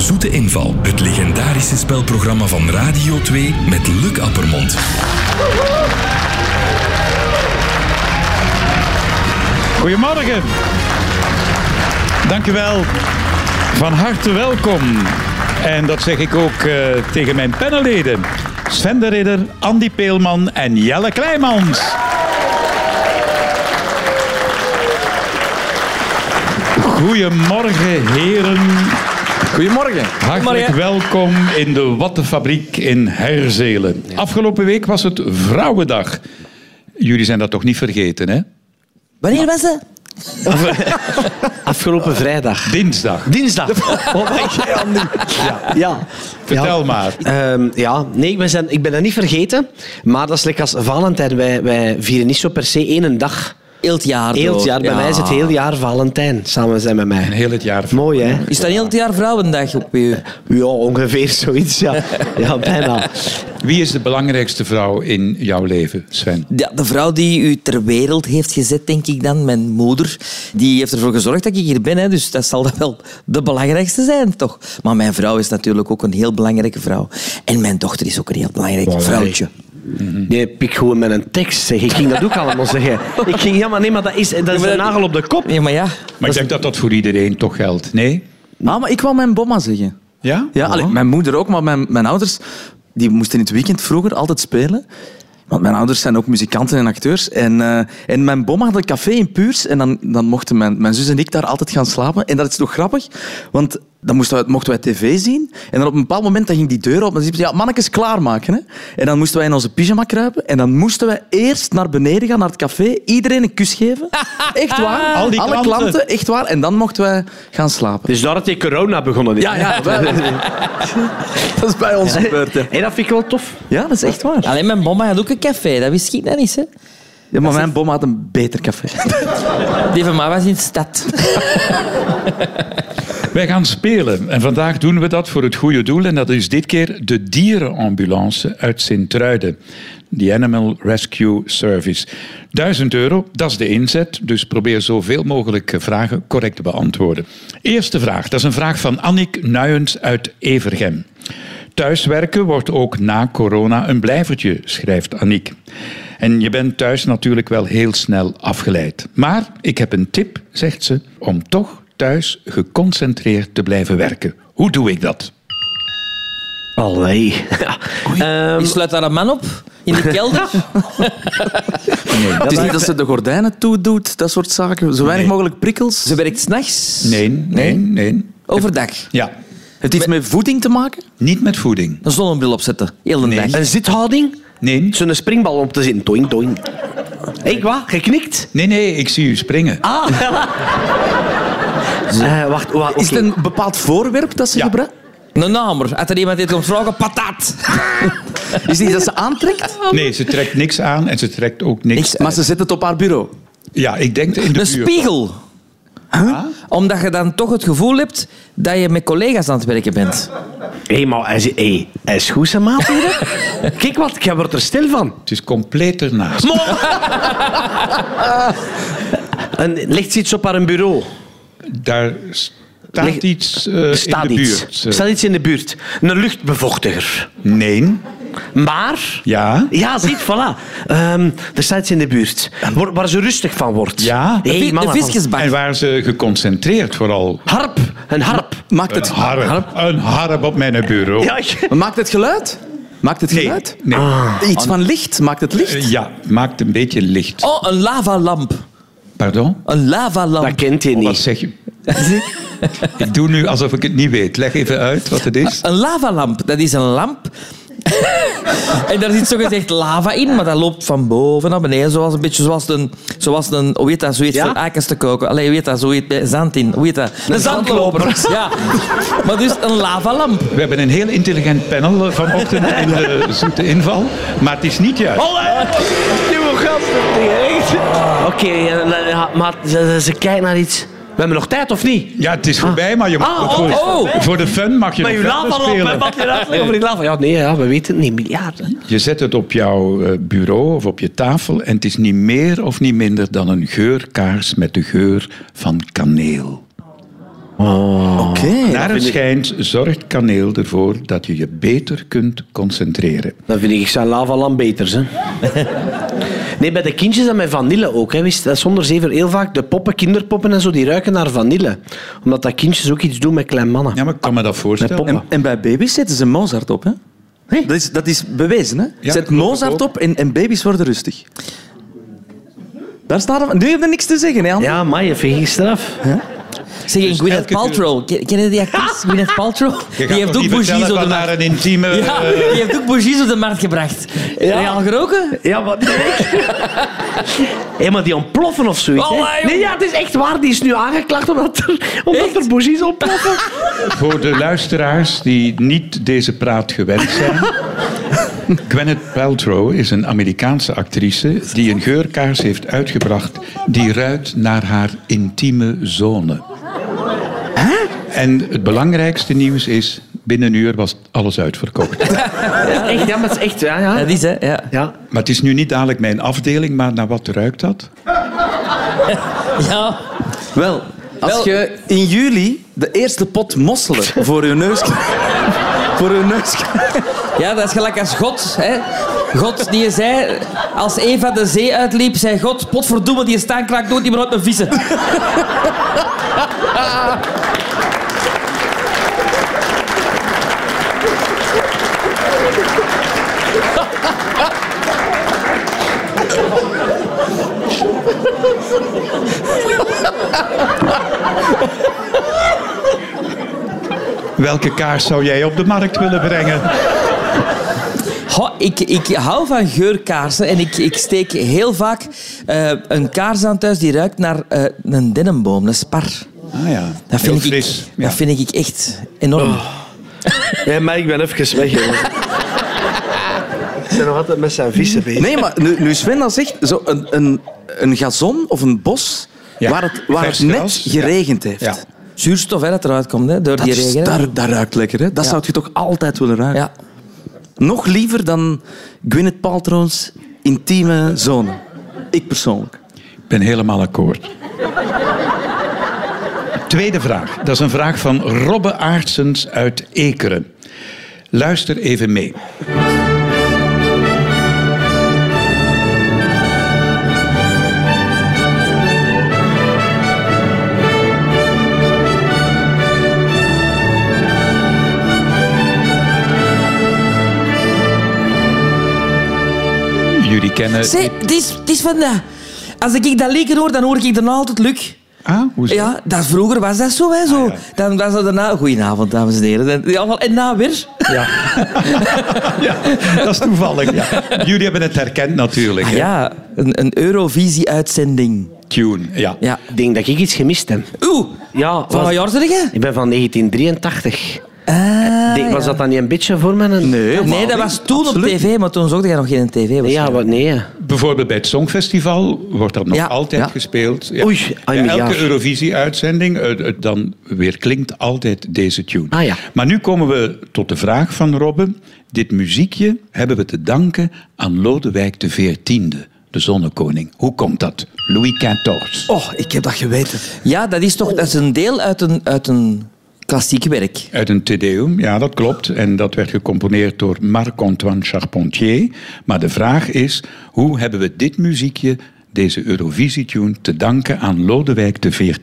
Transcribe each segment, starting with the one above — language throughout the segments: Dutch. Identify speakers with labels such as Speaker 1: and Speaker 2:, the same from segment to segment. Speaker 1: Zoete Inval. Het legendarische spelprogramma van Radio 2 met Luc Appermond.
Speaker 2: Goedemorgen. Dank u wel. Van harte welkom. En dat zeg ik ook eh, tegen mijn panelleden. Sven de Ridder, Andy Peelman en Jelle Kleimans. Goedemorgen, heren.
Speaker 3: Goedemorgen.
Speaker 2: Hartelijk welkom in de Wattenfabriek in Herzelen. Afgelopen week was het Vrouwendag. Jullie zijn dat toch niet vergeten, hè?
Speaker 4: Wanneer was het?
Speaker 3: Afgelopen vrijdag. Oh
Speaker 2: Dinsdag.
Speaker 3: Dinsdag. Wat denk jij, Andy? Ja. ja.
Speaker 2: Vertel
Speaker 3: Ja.
Speaker 2: maar.
Speaker 3: Ehm, ja, nee, we zijn, ik ben dat niet vergeten. Maar dat is lekker als Valentijn. Wij, wij vieren niet zo per se één dag.
Speaker 4: Heel het jaar.
Speaker 3: Heel het
Speaker 4: door.
Speaker 3: jaar. Bij
Speaker 4: Ja.
Speaker 3: mij is het heel jaar Valentijn. Samen zijn met mij.
Speaker 2: Heel het jaar.
Speaker 3: Mooi, hè?
Speaker 4: Is dat heel het jaar Vrouwendag op u?
Speaker 3: Ja, ongeveer zoiets. Ja, ja bijna.
Speaker 2: Wie is de belangrijkste vrouw in jouw leven, Sven?
Speaker 4: Ja, de vrouw die u ter wereld heeft gezet, denk ik dan, mijn moeder, die heeft ervoor gezorgd dat ik hier ben. Hè, dus dat zal dan wel de belangrijkste zijn, toch? Maar mijn vrouw is natuurlijk ook een heel belangrijke vrouw. En mijn dochter is ook een heel belangrijk vrouwtje.
Speaker 3: Nee, pik gewoon met een tekst. Zeg. Ik ging dat ook allemaal zeggen. Ik ging, ja, maar nee, maar dat is, dat is
Speaker 4: maar dat-
Speaker 3: een nagel op de kop.
Speaker 4: Ja, maar ja.
Speaker 2: Maar ik denk dat dat voor iedereen toch geldt. Nee?
Speaker 5: Ah, maar ik wou mijn bomma zeggen.
Speaker 2: Ja?
Speaker 5: Ja, allee, mijn moeder ook, maar mijn, mijn ouders die moesten in het weekend vroeger altijd spelen. Want mijn ouders zijn ook muzikanten en acteurs. En, eh, en mijn bomma had een café in Puurs. En dan, dan mochten mijn, mijn zus en ik daar altijd gaan slapen. En dat is toch grappig, want dan moesten wij, mochten wij tv zien. En dan op een bepaald moment dan ging die deur open. En dan zei ze, ja, mannetjes klaarmaken. Hè? En dan moesten wij in onze pyjama kruipen. En dan moesten wij eerst naar beneden gaan, naar het café. Iedereen een kus geven. Echt waar.
Speaker 2: Al die
Speaker 5: Alle
Speaker 2: klanten.
Speaker 5: klanten, echt waar. En dan mochten wij gaan slapen.
Speaker 3: Dus daar had je corona begonnen.
Speaker 5: Ja, ja, dat is bij ons gebeurd.
Speaker 3: En dat vind ik wel tof.
Speaker 5: Ja, dat is echt waar.
Speaker 4: Alleen mijn mama had ook een café, dat wist ik dan niet. Hè.
Speaker 5: Ja, maar mijn bom had een beter café.
Speaker 4: Die van mij was in de stad.
Speaker 2: Wij gaan spelen. En vandaag doen we dat voor het goede doel. En dat is dit keer de dierenambulance uit Sint-Truiden. De Animal Rescue Service. 1000 euro, dat is de inzet. Dus probeer zoveel mogelijk eh, vragen correct te beantwoorden. Eerste vraag. Dat is een vraag van Annick Nuyens uit Evergem. Thuiswerken wordt ook na corona een blijvertje, schrijft Annick. En je bent thuis natuurlijk wel heel snel afgeleid. Maar ik heb een tip, zegt ze, om toch thuis geconcentreerd te blijven werken. Hoe doe ik dat?
Speaker 3: Allee.
Speaker 4: Je sluit daar een man op in de kelder.
Speaker 5: het is niet dat ze de gordijnen toedoet, dat soort zaken. Zo weinig mogelijk prikkels.
Speaker 4: Ze werkt s'nachts,
Speaker 2: Nee, nee, nee.
Speaker 4: overdag.
Speaker 2: Ja,
Speaker 5: Heeft iets met voeding te maken?
Speaker 2: niet met voeding.
Speaker 4: Een zonnebril opzetten, heel de dag.
Speaker 3: Een zithouding?
Speaker 2: Nee,
Speaker 3: Zo'n springbal om te zitten. Toing, toing. Hé, wat? Geknikt?
Speaker 2: nee, nee, ik zie u springen.
Speaker 3: Ah, Eh, wacht, wa,
Speaker 5: Is
Speaker 3: oké.
Speaker 5: het een bepaald voorwerp dat ze
Speaker 2: Ja.
Speaker 5: gebruikt?
Speaker 4: Een namer. Als er iemand dit komt vragen, patat.
Speaker 5: Is het iets dat ze aantrekt?
Speaker 2: Nee, ze trekt niks aan en ze trekt ook niks.
Speaker 5: Maar ze zet het op haar bureau.
Speaker 2: Ja, ik denk in de
Speaker 4: Een
Speaker 2: buurt.
Speaker 4: spiegel. Omdat je dan toch het gevoel hebt dat je met collega's aan het werken bent.
Speaker 3: Hé, maar hij is, hé, hij is goed, zijn maat. hier, hè? Kijk wat, jij wordt er stil van.
Speaker 2: Het is compleet ernaast.
Speaker 3: En ligt ze iets op haar bureau?
Speaker 2: Daar staat
Speaker 3: Ligt-
Speaker 2: iets eh,
Speaker 3: Staat
Speaker 2: in de
Speaker 3: iets.
Speaker 2: buurt. Eh,
Speaker 3: Staat iets in de buurt. Een luchtbevochtiger.
Speaker 2: Nee,
Speaker 3: Maar...
Speaker 2: ja.
Speaker 3: Ja, ziet, voilà. Ehm, er staat iets in de buurt. Waar, waar ze rustig van wordt.
Speaker 2: Ja.
Speaker 3: Hé,
Speaker 4: De vi- de
Speaker 3: mannen, van-
Speaker 4: visjesbak.
Speaker 2: En waar ze geconcentreerd vooral.
Speaker 3: Harp. Een harp.
Speaker 5: Maakt
Speaker 2: Een
Speaker 5: het,
Speaker 2: harp, een harp op mijn bureau.
Speaker 3: Ja, ik-
Speaker 5: maakt het geluid? Maakt het
Speaker 2: Nee,
Speaker 5: geluid?
Speaker 2: nee.
Speaker 5: Iets van licht? Maakt het licht?
Speaker 2: Eh, ja, maakt een beetje licht.
Speaker 4: Oh, een lavalamp.
Speaker 2: Pardon?
Speaker 4: Een lavalamp.
Speaker 3: dat kent je
Speaker 2: Oh, Wat
Speaker 3: niet.
Speaker 2: zeg je? ik doe nu alsof ik het niet weet. Leg even uit wat het is.
Speaker 4: Een lavalamp, dat is een lamp. en daar zit zogezegd lava in, maar dat loopt van boven naar beneden. Zoals een beetje zoals een... Zoals een hoe heet dat? Zoiets
Speaker 3: Ja?
Speaker 4: voor eikens te koken. Allee, hoe heet dat? Zo heet bij zand in. Hoe heet dat? Een, zandloper. Ja. Maar dus een lavalamp.
Speaker 2: We hebben een heel intelligent panel eh, vanochtend in de zoete inval. Maar het is niet juist.
Speaker 3: Allee! Nieuwe gasten. Oké, eh, ja, maar ze, ze kijkt naar iets. We hebben nog tijd, of niet?
Speaker 2: Ja, het is voorbij, maar je mag
Speaker 3: Ah,
Speaker 2: ook
Speaker 3: oh,
Speaker 2: voor,
Speaker 4: oh.
Speaker 2: voor de fun mag je
Speaker 3: Maar
Speaker 2: nog
Speaker 3: uw
Speaker 2: verder
Speaker 3: lava
Speaker 2: spelen.
Speaker 3: op, wat je uitlegt over die lava. Ja, nee, ja, we weten het niet. Miljarden.
Speaker 2: Je zet het op jouw eh, bureau of op je tafel en het is niet meer of niet minder dan een geurkaars met de geur van kaneel. Oh.
Speaker 5: Oké.
Speaker 2: Naar het schijnt zorgt kaneel ervoor dat je je beter kunt concentreren.
Speaker 3: Dat vind ik zijn lavalamp beters, hè. nee, bij de kindjes en met vanille ook. Hè. Wist, dat is zonder zeven heel vaak de poppen, kinderpoppen en zo, die ruiken naar vanille. Omdat dat kindjes ook iets doen met kleine mannen.
Speaker 2: Ja, maar ik kan me dat voorstellen.
Speaker 5: En, en bij baby's zetten ze Mozart op, hè?
Speaker 3: Nee.
Speaker 5: Dat, is, dat is bewezen, hè?
Speaker 2: Ja,
Speaker 5: Zet
Speaker 2: dat geloof ik
Speaker 5: Mozart
Speaker 2: ook.
Speaker 5: op en, en baby's worden rustig. Daar staat er... Nu heb je niks te zeggen, hè, Andy?
Speaker 3: Ja, maar je vind ik straf.
Speaker 4: Zeg,
Speaker 3: Dus
Speaker 4: en Gwyneth
Speaker 2: elke
Speaker 4: Paltrow. Ken ken je die actrice? Gwyneth Paltrow?
Speaker 2: Je
Speaker 4: Die
Speaker 2: gaat
Speaker 4: heeft
Speaker 2: toch
Speaker 4: ook
Speaker 2: niet
Speaker 4: bougies
Speaker 2: vertellen
Speaker 4: op de
Speaker 2: van eh,
Speaker 4: markt.
Speaker 2: naar een intieme...
Speaker 4: Ja, die heeft ook bougies op de markt gebracht. Heb je al geroken?
Speaker 3: Ja, maar Hé, maar die ontploffen of zoiets. hè?
Speaker 4: Allee, jong.
Speaker 3: nee, ja, het is echt waar. Die is nu aangeklaagd omdat er, omdat er bougies ontploffen.
Speaker 2: Voor de luisteraars die niet deze praat gewend zijn. Gwyneth Paltrow is een Amerikaanse actrice die een geurkaars heeft uitgebracht die ruikt naar haar intieme zone. En het belangrijkste nieuws is, binnen een uur was alles uitverkocht.
Speaker 3: Echt, ja, maar het is echt... Ja, ja.
Speaker 4: Dat is, hè? Ja.
Speaker 3: ja.
Speaker 2: Maar het is nu niet dadelijk mijn afdeling, maar naar wat ruikt dat?
Speaker 4: ja.
Speaker 5: Wel, als
Speaker 4: Wel-
Speaker 5: je in juli de eerste pot mosselen voor je neus... voor je neus...
Speaker 4: Ja, dat is gelijk als God. Hè? God die zei, als Eva de zee uitliep, zei God, potverdomme, die staankraak nooit niet meer uit mijn vissen.
Speaker 2: Welke kaars zou jij op de markt willen brengen?
Speaker 4: Goh, ik, ik hou van geurkaarsen en ik, ik steek heel vaak eh, een kaars aan thuis die ruikt naar eh, een dennenboom, een spar.
Speaker 2: Ah ja,
Speaker 4: Dat
Speaker 2: heel
Speaker 4: vind, ik,
Speaker 2: fris. Ja.
Speaker 4: dat vind ik echt enorm.
Speaker 3: Nee, maar ik ben even weg, jongen. Ik ben nog altijd met zijn vissen bezig.
Speaker 5: Nee, maar nu, nu Sven dat zegt, zo een, een, een gazon of een bos
Speaker 2: Ja.
Speaker 5: waar het, waar het
Speaker 2: Vers
Speaker 5: net
Speaker 2: gras.
Speaker 5: geregend heeft.
Speaker 2: Ja.
Speaker 4: Zuurstof hè, dat eruit komt hè, door
Speaker 5: Dat,
Speaker 4: die
Speaker 5: is,
Speaker 4: regen. hè.
Speaker 5: daar, daar ruikt lekker, hè? Dat
Speaker 4: Ja.
Speaker 5: zou je toch altijd willen ruiken?
Speaker 4: Ja.
Speaker 5: Nog liever dan Gwyneth Paltrow's intieme zone. Ik persoonlijk.
Speaker 2: Ik ben helemaal akkoord. Tweede vraag. Dat is een vraag van Robbe Aartsens uit Ekeren. Luister even mee. Jullie kennen...
Speaker 4: Zee, het is, het is van dat. Als ik dat lekker hoor, dan hoor ik daarna altijd Luc.
Speaker 2: Ah, hoezo?
Speaker 4: Ja, dat, vroeger was dat zo. Hè, zo.
Speaker 2: Ah, ja.
Speaker 4: Dan was dat daarna... Goedenavond, dames en heren. Dan- ja, wel, En na weer...
Speaker 2: Ja. ja, dat is toevallig. Ja. Jullie hebben het herkend natuurlijk. hè?
Speaker 4: Ah, Ja, een, een Eurovisie-uitzending.
Speaker 2: Tune. Ja.
Speaker 4: Ja.
Speaker 3: Ik denk dat ik iets gemist heb.
Speaker 4: Oeh,
Speaker 3: Ja,
Speaker 4: van
Speaker 3: was-
Speaker 4: wat jaar zeg je?
Speaker 3: Ik ben van 1983.
Speaker 4: Ah,
Speaker 3: Denk, was
Speaker 4: ja.
Speaker 3: dat dan niet een beetje voor me? een-
Speaker 4: Nee, dat was toen op tv, maar toen zocht jij nog geen tv. was.
Speaker 3: Ja, wat nee. hè.
Speaker 2: Bijvoorbeeld bij het Songfestival wordt dat nog
Speaker 4: Ja,
Speaker 2: altijd
Speaker 4: ja. ah,
Speaker 2: gespeeld. Ja.
Speaker 3: Oei,
Speaker 2: Bij
Speaker 3: ai, mijn
Speaker 2: elke
Speaker 3: jaar.
Speaker 2: Eurovisie-uitzending eh, eh, dan weer klinkt altijd deze tune.
Speaker 3: Ah, ja.
Speaker 2: Maar nu komen we tot de vraag van Robben. Dit muziekje hebben we te danken aan Lodewijk XIV, de zonnekoning. Hoe komt dat? Louis XIV.
Speaker 5: Oh, ik heb dat geweten.
Speaker 4: Ja, dat is toch dat is een deel uit een, uit een klassiek werk.
Speaker 2: Uit een Tedeum, ja, dat klopt. En dat werd gecomponeerd door Marc-Antoine Charpentier. Maar de vraag is: hoe hebben we dit muziekje, deze Eurovisie-tune, te danken aan Lodewijk XIV?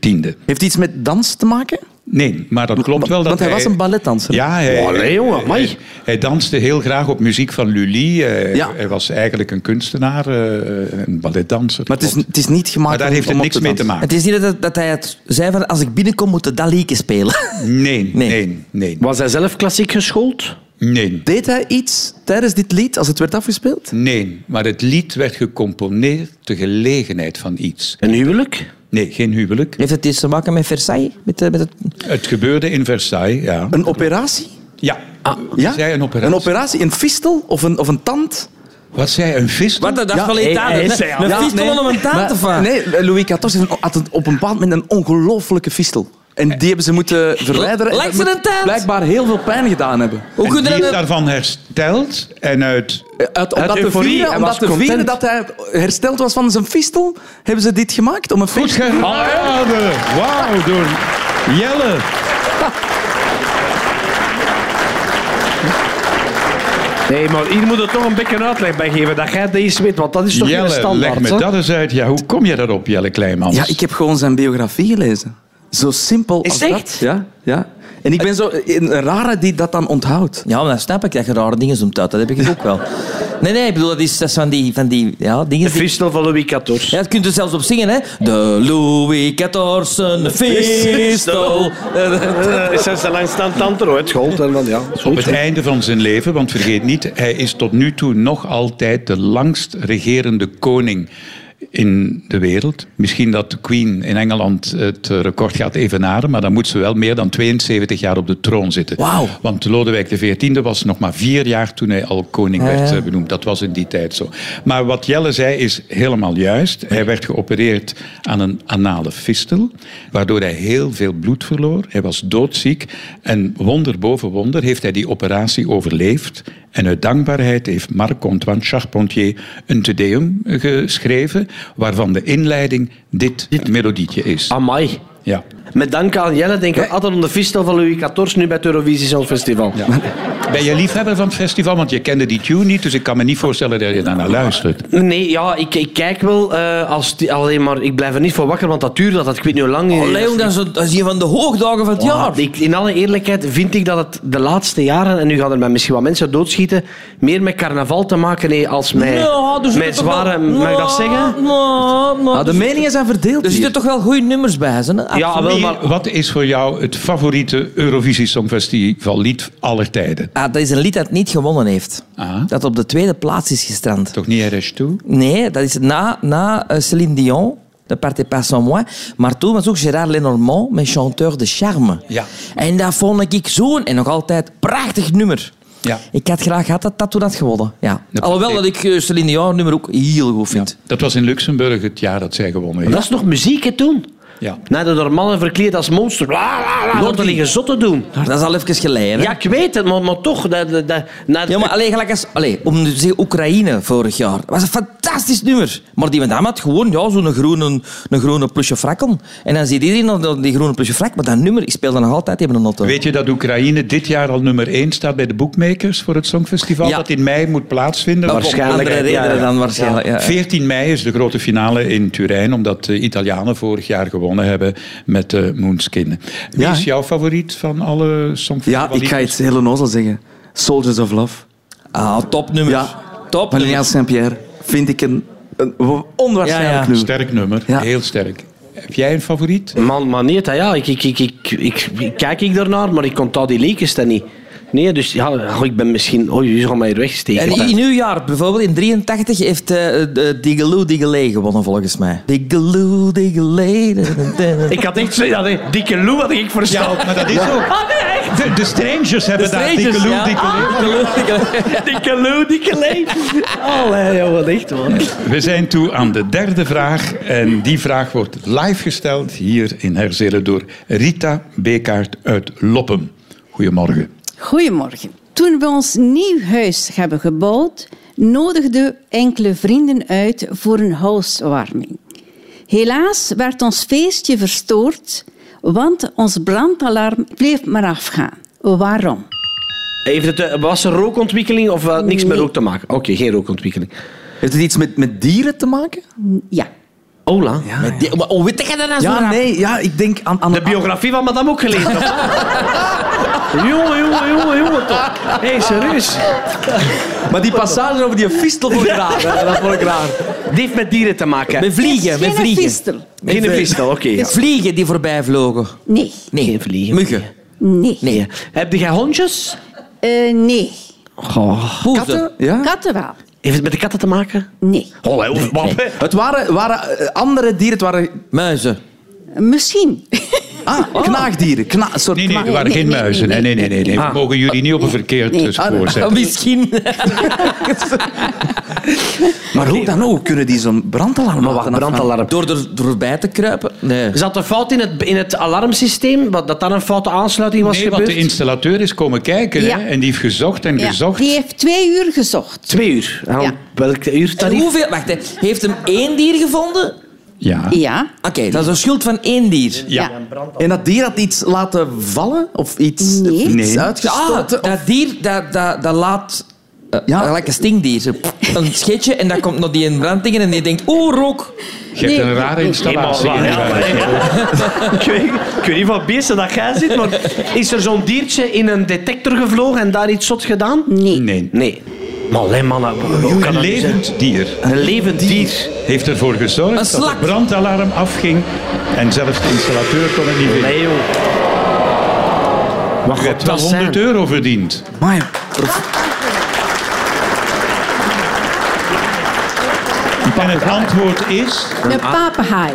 Speaker 5: Heeft iets met dans te maken?
Speaker 2: Nee, maar dat klopt wel. Dat
Speaker 5: Want hij was een balletdanser. Oh,
Speaker 2: Ja, hij,
Speaker 3: Allee, jongen,
Speaker 2: hij-
Speaker 3: amai.
Speaker 2: hij, hij danste heel graag op muziek van Lully. Eh,
Speaker 5: Ja.
Speaker 2: Hij was eigenlijk een kunstenaar, eh, een balletdanser.
Speaker 5: Maar het is,
Speaker 2: klopt.
Speaker 5: het is niet gemaakt
Speaker 2: maar daar
Speaker 5: om-
Speaker 2: heeft het
Speaker 5: om op
Speaker 2: niks
Speaker 5: te
Speaker 2: mee te
Speaker 5: dansen.
Speaker 2: maken.
Speaker 4: Het is niet dat, dat hij het zei van als ik binnenkom moet de Dalieke spelen.
Speaker 2: Nee,
Speaker 4: Nee.
Speaker 2: nee, nee.
Speaker 3: Was hij zelf klassiek geschoold?
Speaker 2: nee.
Speaker 5: Deed hij iets tijdens dit lied, als het werd afgespeeld?
Speaker 2: Nee, maar het lied werd gecomponeerd ter gelegenheid van iets.
Speaker 3: Een huwelijk?
Speaker 2: Nee, geen huwelijk.
Speaker 4: Heeft het iets te maken met Versailles? Met, eh, met het...
Speaker 2: Het gebeurde in Versailles, ja.
Speaker 5: Een operatie?
Speaker 2: Ja.
Speaker 5: Ja?
Speaker 2: Zei een operatie.
Speaker 5: Een operatie, een fistel of een, of een tand?
Speaker 2: Wat zei een vis?
Speaker 4: Wat, dat is
Speaker 5: Ja,
Speaker 4: wel
Speaker 3: hij- hij
Speaker 4: Italië.
Speaker 3: is hij al.
Speaker 4: Een
Speaker 5: Ja,
Speaker 4: fistel
Speaker 5: nee.
Speaker 4: om een taart te
Speaker 5: Maar-
Speaker 4: vangen.
Speaker 5: Nee, Louis XIV heeft een- had een- op een bepaald moment een ongelofelijke fistel. En die hebben ze moeten verwijderen. En
Speaker 4: Lijkt
Speaker 5: dat
Speaker 4: ze
Speaker 5: moet
Speaker 4: een taart?
Speaker 5: Blijkbaar heel veel pijn gedaan hebben.
Speaker 4: Hoe
Speaker 2: En
Speaker 4: kun je
Speaker 2: die
Speaker 4: dat...
Speaker 2: is
Speaker 4: nou-
Speaker 2: daarvan hersteld en uit...
Speaker 5: Uit, om
Speaker 3: Uit
Speaker 5: dat te
Speaker 3: euforie,
Speaker 5: vieren,
Speaker 3: hij
Speaker 5: om
Speaker 3: was
Speaker 5: dat te vieren
Speaker 3: content.
Speaker 5: dat hij hersteld was van zijn fistel, hebben ze dit gemaakt om een Ah,
Speaker 2: Goed
Speaker 5: feest.
Speaker 2: geraden! Wauw, door Jelle.
Speaker 3: Nee, maar hier moet het toch een beetje een uitleg bij geven. Dat jij deze weet, want dat is toch geen
Speaker 2: Jelle,
Speaker 3: standaard.
Speaker 2: leg me
Speaker 3: hè?
Speaker 2: dat eens uit. Ja, hoe kom je daarop, Jelle Kleinmans?
Speaker 5: Ja, ik heb gewoon zijn biografie gelezen. Zo simpel
Speaker 4: Is
Speaker 5: als
Speaker 4: het
Speaker 5: dat.
Speaker 4: echt?
Speaker 5: Ja, ja. En ik ben zo een rare die dat dan onthoudt.
Speaker 4: Ja, maar dan snap ik dat je rare dingen zoomt uit. Dat heb ik ook wel. Nee, nee, ik bedoel, dat is, dat is van die, van die ja, dingen.
Speaker 3: De
Speaker 4: die-
Speaker 3: Fistel van Louis XIV.
Speaker 4: Ja, dat kunt u zelfs op zingen, hè? De Louis XIV Fistel.
Speaker 2: Eh,
Speaker 3: Is dat zijn langstaand tante ooit gold? En dan, ja, is
Speaker 2: Op
Speaker 3: goed.
Speaker 2: het einde van zijn leven, want vergeet niet, hij is tot nu toe nog altijd de langst regerende koning in de wereld. Misschien dat de Queen in Engeland het eh, record gaat evenaren, maar dan moet ze wel meer dan 72 jaar op de troon zitten.
Speaker 4: Wauw.
Speaker 2: Want Lodewijk XIV was nog maar vier jaar toen hij al koning werd
Speaker 4: ja.
Speaker 2: eh, benoemd. Dat was in die tijd zo. Maar wat Jelle zei is helemaal juist. Hij werd geopereerd aan een anale fistel, waardoor hij heel veel bloed verloor. Hij was doodziek en wonder boven wonder heeft hij die operatie overleefd. En uit dankbaarheid heeft Marc-Antoine Charpentier een te deum geschreven, waarvan de inleiding dit, melodietje is.
Speaker 3: Amai.
Speaker 2: Ja.
Speaker 3: Met dank aan Jelle denk ik altijd om de Fistel van Louis XIV nu bij het Eurovisie Songfestival.
Speaker 2: Ben je liefhebber van het festival? Want je kende die tune niet, dus ik kan me niet voorstellen dat je daarnaar luistert.
Speaker 3: Nee, ja, ik, ik kijk wel, eh, als die, alleen maar ik blijf er niet van wakker, want dat duurt dat, dat ik weet niet hoe lang.
Speaker 4: Oh, Leon, dat is, een- dat is een van de hoogdagen van het
Speaker 3: Ja,
Speaker 4: jaar.
Speaker 3: ik, in alle eerlijkheid vind ik dat het de laatste jaren, en nu gaan er mij misschien wat mensen doodschieten, meer met carnaval te maken heeft als met,
Speaker 4: Ja, dus er zitten
Speaker 3: met
Speaker 4: toch wel-
Speaker 3: zware... Mag ik dat
Speaker 4: Ja,
Speaker 3: zeggen?
Speaker 4: ja, maar
Speaker 5: Ah, de
Speaker 4: er zitten-
Speaker 5: meningen zijn verdeeld
Speaker 4: Er
Speaker 5: hier.
Speaker 4: zitten toch wel goede nummers bij, hè?
Speaker 3: Ja, wel, maar...
Speaker 2: Wat is voor jou het favoriete Eurovisie Songfestival lied aller tijden?
Speaker 4: Ah, dat is een lied dat niet gewonnen heeft.
Speaker 2: Ah.
Speaker 4: Dat op de tweede plaats is gestrand.
Speaker 2: Toch niet RS2?
Speaker 4: Nee, dat is na, na eh, Céline Dion. De Partez pas sans moi. Maar toen was ook Gérard Lenormand met Chanteur de Charme.
Speaker 2: Ja.
Speaker 4: En dat vond ik zo'n, en nog altijd, prachtig nummer.
Speaker 2: Ja.
Speaker 4: Ik had graag gehad dat dat toen had gewonnen. Ja.
Speaker 2: Dat-
Speaker 4: Alhoewel dat ik eh, Céline Dion nummer ook heel goed vind.
Speaker 2: Dat was in Luxemburg het jaar dat zij gewonnen heeft.
Speaker 3: Dat is nog muziek, hè, toen?
Speaker 2: Ja.
Speaker 3: Naar de door mannen verkleed als monster. Bla, bla, bla, door te liggen zot te doen.
Speaker 4: Dat is al even geleden.
Speaker 3: Ja, ik weet het, maar, maar toch... Dat, dat, dat, naar-
Speaker 4: Ja, maar alleen gelijk als... Allee, om te zeggen, Oekraïne vorig jaar. Dat was een fantastisch nummer. Maar die madame had gewoon ja, zo'n groene, een groene plusje frak om. En dan ziet iedereen nog dat- die groene plusje frak. Maar dat nummer ik speelde nog altijd in mijn auto.
Speaker 2: Weet je dat Oekraïne dit jaar al nummer 1 staat bij de boekmakers voor het Songfestival?
Speaker 4: Ja.
Speaker 2: Dat in mei moet plaatsvinden.
Speaker 4: Maar
Speaker 2: Want
Speaker 4: Om andere
Speaker 3: ja,
Speaker 4: redenen
Speaker 3: ja.
Speaker 4: dan waarschijnlijk. Ja.
Speaker 2: 14 mei is de grote finale in Turijn, omdat de Italianen vorig jaar gewonnen hebben met eh Moonskin. Wie
Speaker 5: Ja,
Speaker 2: is
Speaker 5: hè?
Speaker 2: jouw favoriet van alle
Speaker 5: Ja,
Speaker 2: Songfestival?
Speaker 5: ik ga iets heel onnozel zeggen. Soldiers of Love.
Speaker 4: Ah, topnummer.
Speaker 5: Ja.
Speaker 4: Top.
Speaker 5: Van Lilian Saint-Pierre vind ik een, een onwaarschijnlijk
Speaker 4: Ja, ja.
Speaker 5: nummer.
Speaker 2: Sterk nummer,
Speaker 5: Ja.
Speaker 2: heel sterk. Heb jij een favoriet?
Speaker 3: Man, maar niet, hè, ja. Ik, ik, ik, ik, ik, ik- kijk ik daarnaar, maar ik onthoud die leekjes dan niet. Nee, dus ja, oh, ik ben misschien... Oh, jullie gaan mij hier wegsteken.
Speaker 4: En
Speaker 3: hè.
Speaker 4: in uw jaar, bijvoorbeeld in 83, heeft eh eh, Digaloo Digalee gewonnen, volgens mij. Digaloo Digalee.
Speaker 3: Ik had echt zoiets dat dikke Lou had ik verstaan.
Speaker 2: maar dat is ook. De, de Strangers Ah. hebben daar dikke Lou, dikke Lou.
Speaker 4: Ah,
Speaker 3: dikke Lou, dikke Lee. Allee, joh, wat echt man.
Speaker 2: We zijn toe aan de derde vraag. En die vraag wordt live gesteld hier in Herzelen door Rita Bekaert uit Loppem. Goedemorgen.
Speaker 6: Goedemorgen. Toen we ons nieuw huis hebben gebouwd, nodigden enkele vrienden uit voor een housewarming. Helaas werd ons feestje verstoord, want ons brandalarm bleef maar afgaan. Waarom?
Speaker 3: Heeft het, eh, was er rookontwikkeling of had niks met rook te maken? Oké, geen rookontwikkeling.
Speaker 5: Heeft het iets met, met dieren te maken?
Speaker 6: Ja.
Speaker 3: Ola.
Speaker 4: Met die- maar Hoe weet je dat nou zo
Speaker 5: Ja,
Speaker 4: rap?
Speaker 5: nee. Ja, ik denk aan... aan
Speaker 3: De biografie van madame ook gelezen. of wat? jongen, jongen, jongen, jongen, toch. Hé, hey, serieus.
Speaker 5: Maar die passage over die fistel voor raar. hè. Dat vond ik raar.
Speaker 3: Die heeft met dieren te maken.
Speaker 4: Met vliegen,
Speaker 6: Het is
Speaker 4: met
Speaker 6: geen
Speaker 4: vliegen.
Speaker 6: fistel.
Speaker 3: Geen vistel, oké. ja.
Speaker 4: Vliegen die voorbij vlogen.
Speaker 6: Nee.
Speaker 4: Nee.
Speaker 3: Geen vliegen.
Speaker 4: Muggen.
Speaker 6: Nee. Nee.
Speaker 4: Nee.
Speaker 3: Heb jij hondjes?
Speaker 6: nee.
Speaker 4: Poezen.
Speaker 5: Katten? Ja.
Speaker 6: Katten wel.
Speaker 3: Heeft het met de katten te maken?
Speaker 6: Nee.
Speaker 3: Oh, hè, of wat? hè?
Speaker 5: Het waren, waren eh, andere dieren. Het waren
Speaker 4: Muizen.
Speaker 6: Misschien.
Speaker 5: ah, knaagdieren. Kna, een soort
Speaker 2: Nee, nee,
Speaker 5: kna-
Speaker 2: er waren geen
Speaker 6: nee, nee,
Speaker 2: muizen. Nee, nee, nee. nee, nee. We
Speaker 3: Ah.
Speaker 2: mogen jullie niet op een verkeerd
Speaker 6: Nee.
Speaker 2: eh, spoor
Speaker 4: Ah,
Speaker 2: zetten.
Speaker 4: misschien.
Speaker 5: Maar hoe dan ook? Hoe kunnen die zo'n
Speaker 3: Maar
Speaker 5: brandalarm
Speaker 3: wacht,
Speaker 5: laten afgaan?
Speaker 3: brandalarm.
Speaker 4: Door er voorbij te kruipen? Nee.
Speaker 3: Zat er fout in het, in het alarmsysteem? Wat- Dat daar een foute aansluiting was
Speaker 2: Nee, want
Speaker 3: gebeurd?
Speaker 2: de installateur is komen kijken
Speaker 6: Ja.
Speaker 2: hè, en die heeft gezocht en
Speaker 6: Ja.
Speaker 2: gezocht.
Speaker 6: Die heeft twee uur gezocht.
Speaker 3: Twee uur. En om
Speaker 6: Ja.
Speaker 3: Welk uur
Speaker 4: En hoeveel, wacht, hè. heeft hem één dier gevonden?
Speaker 5: Ah.
Speaker 2: Ja.
Speaker 6: Ja.
Speaker 4: Oké, dat is een schuld van één dier.
Speaker 2: Ja.
Speaker 5: En dat dier had iets laten vallen? Of iets,
Speaker 6: Nee.
Speaker 5: iets
Speaker 2: Nee.
Speaker 5: uitgestoten?
Speaker 4: Ah, dat dier dat, dat, dat laat... eh,
Speaker 5: Ja.
Speaker 4: gelijk een stinkdier. Zo, pff, Een scheetje en dan komt nog die in brand tegen en die denkt... Oeh, rook.
Speaker 2: Je hebt een rare installatie. in je huis.
Speaker 3: Ik weet, ik weet niet wat beesten dat jij zit, maar is er zo'n diertje in een detector gevlogen en daar iets zot gedaan?
Speaker 6: Nee.
Speaker 2: Nee.
Speaker 3: Nee. Maar alleen mannen, hoe kan
Speaker 2: Een
Speaker 3: dat nu zijn?
Speaker 2: levend dier
Speaker 3: Een levend dier.
Speaker 2: heeft ervoor
Speaker 4: Een
Speaker 2: gezorgd dat
Speaker 4: slak.
Speaker 2: het brandalarm afging. En zelfs de installateur kon het niet vinden.
Speaker 3: Nee, joh.
Speaker 2: Je hebt wel
Speaker 3: dat zijn.
Speaker 2: 100 euro verdiend.
Speaker 5: Amai.
Speaker 2: En het antwoord is...
Speaker 6: Een
Speaker 5: Ah.
Speaker 6: papegaai.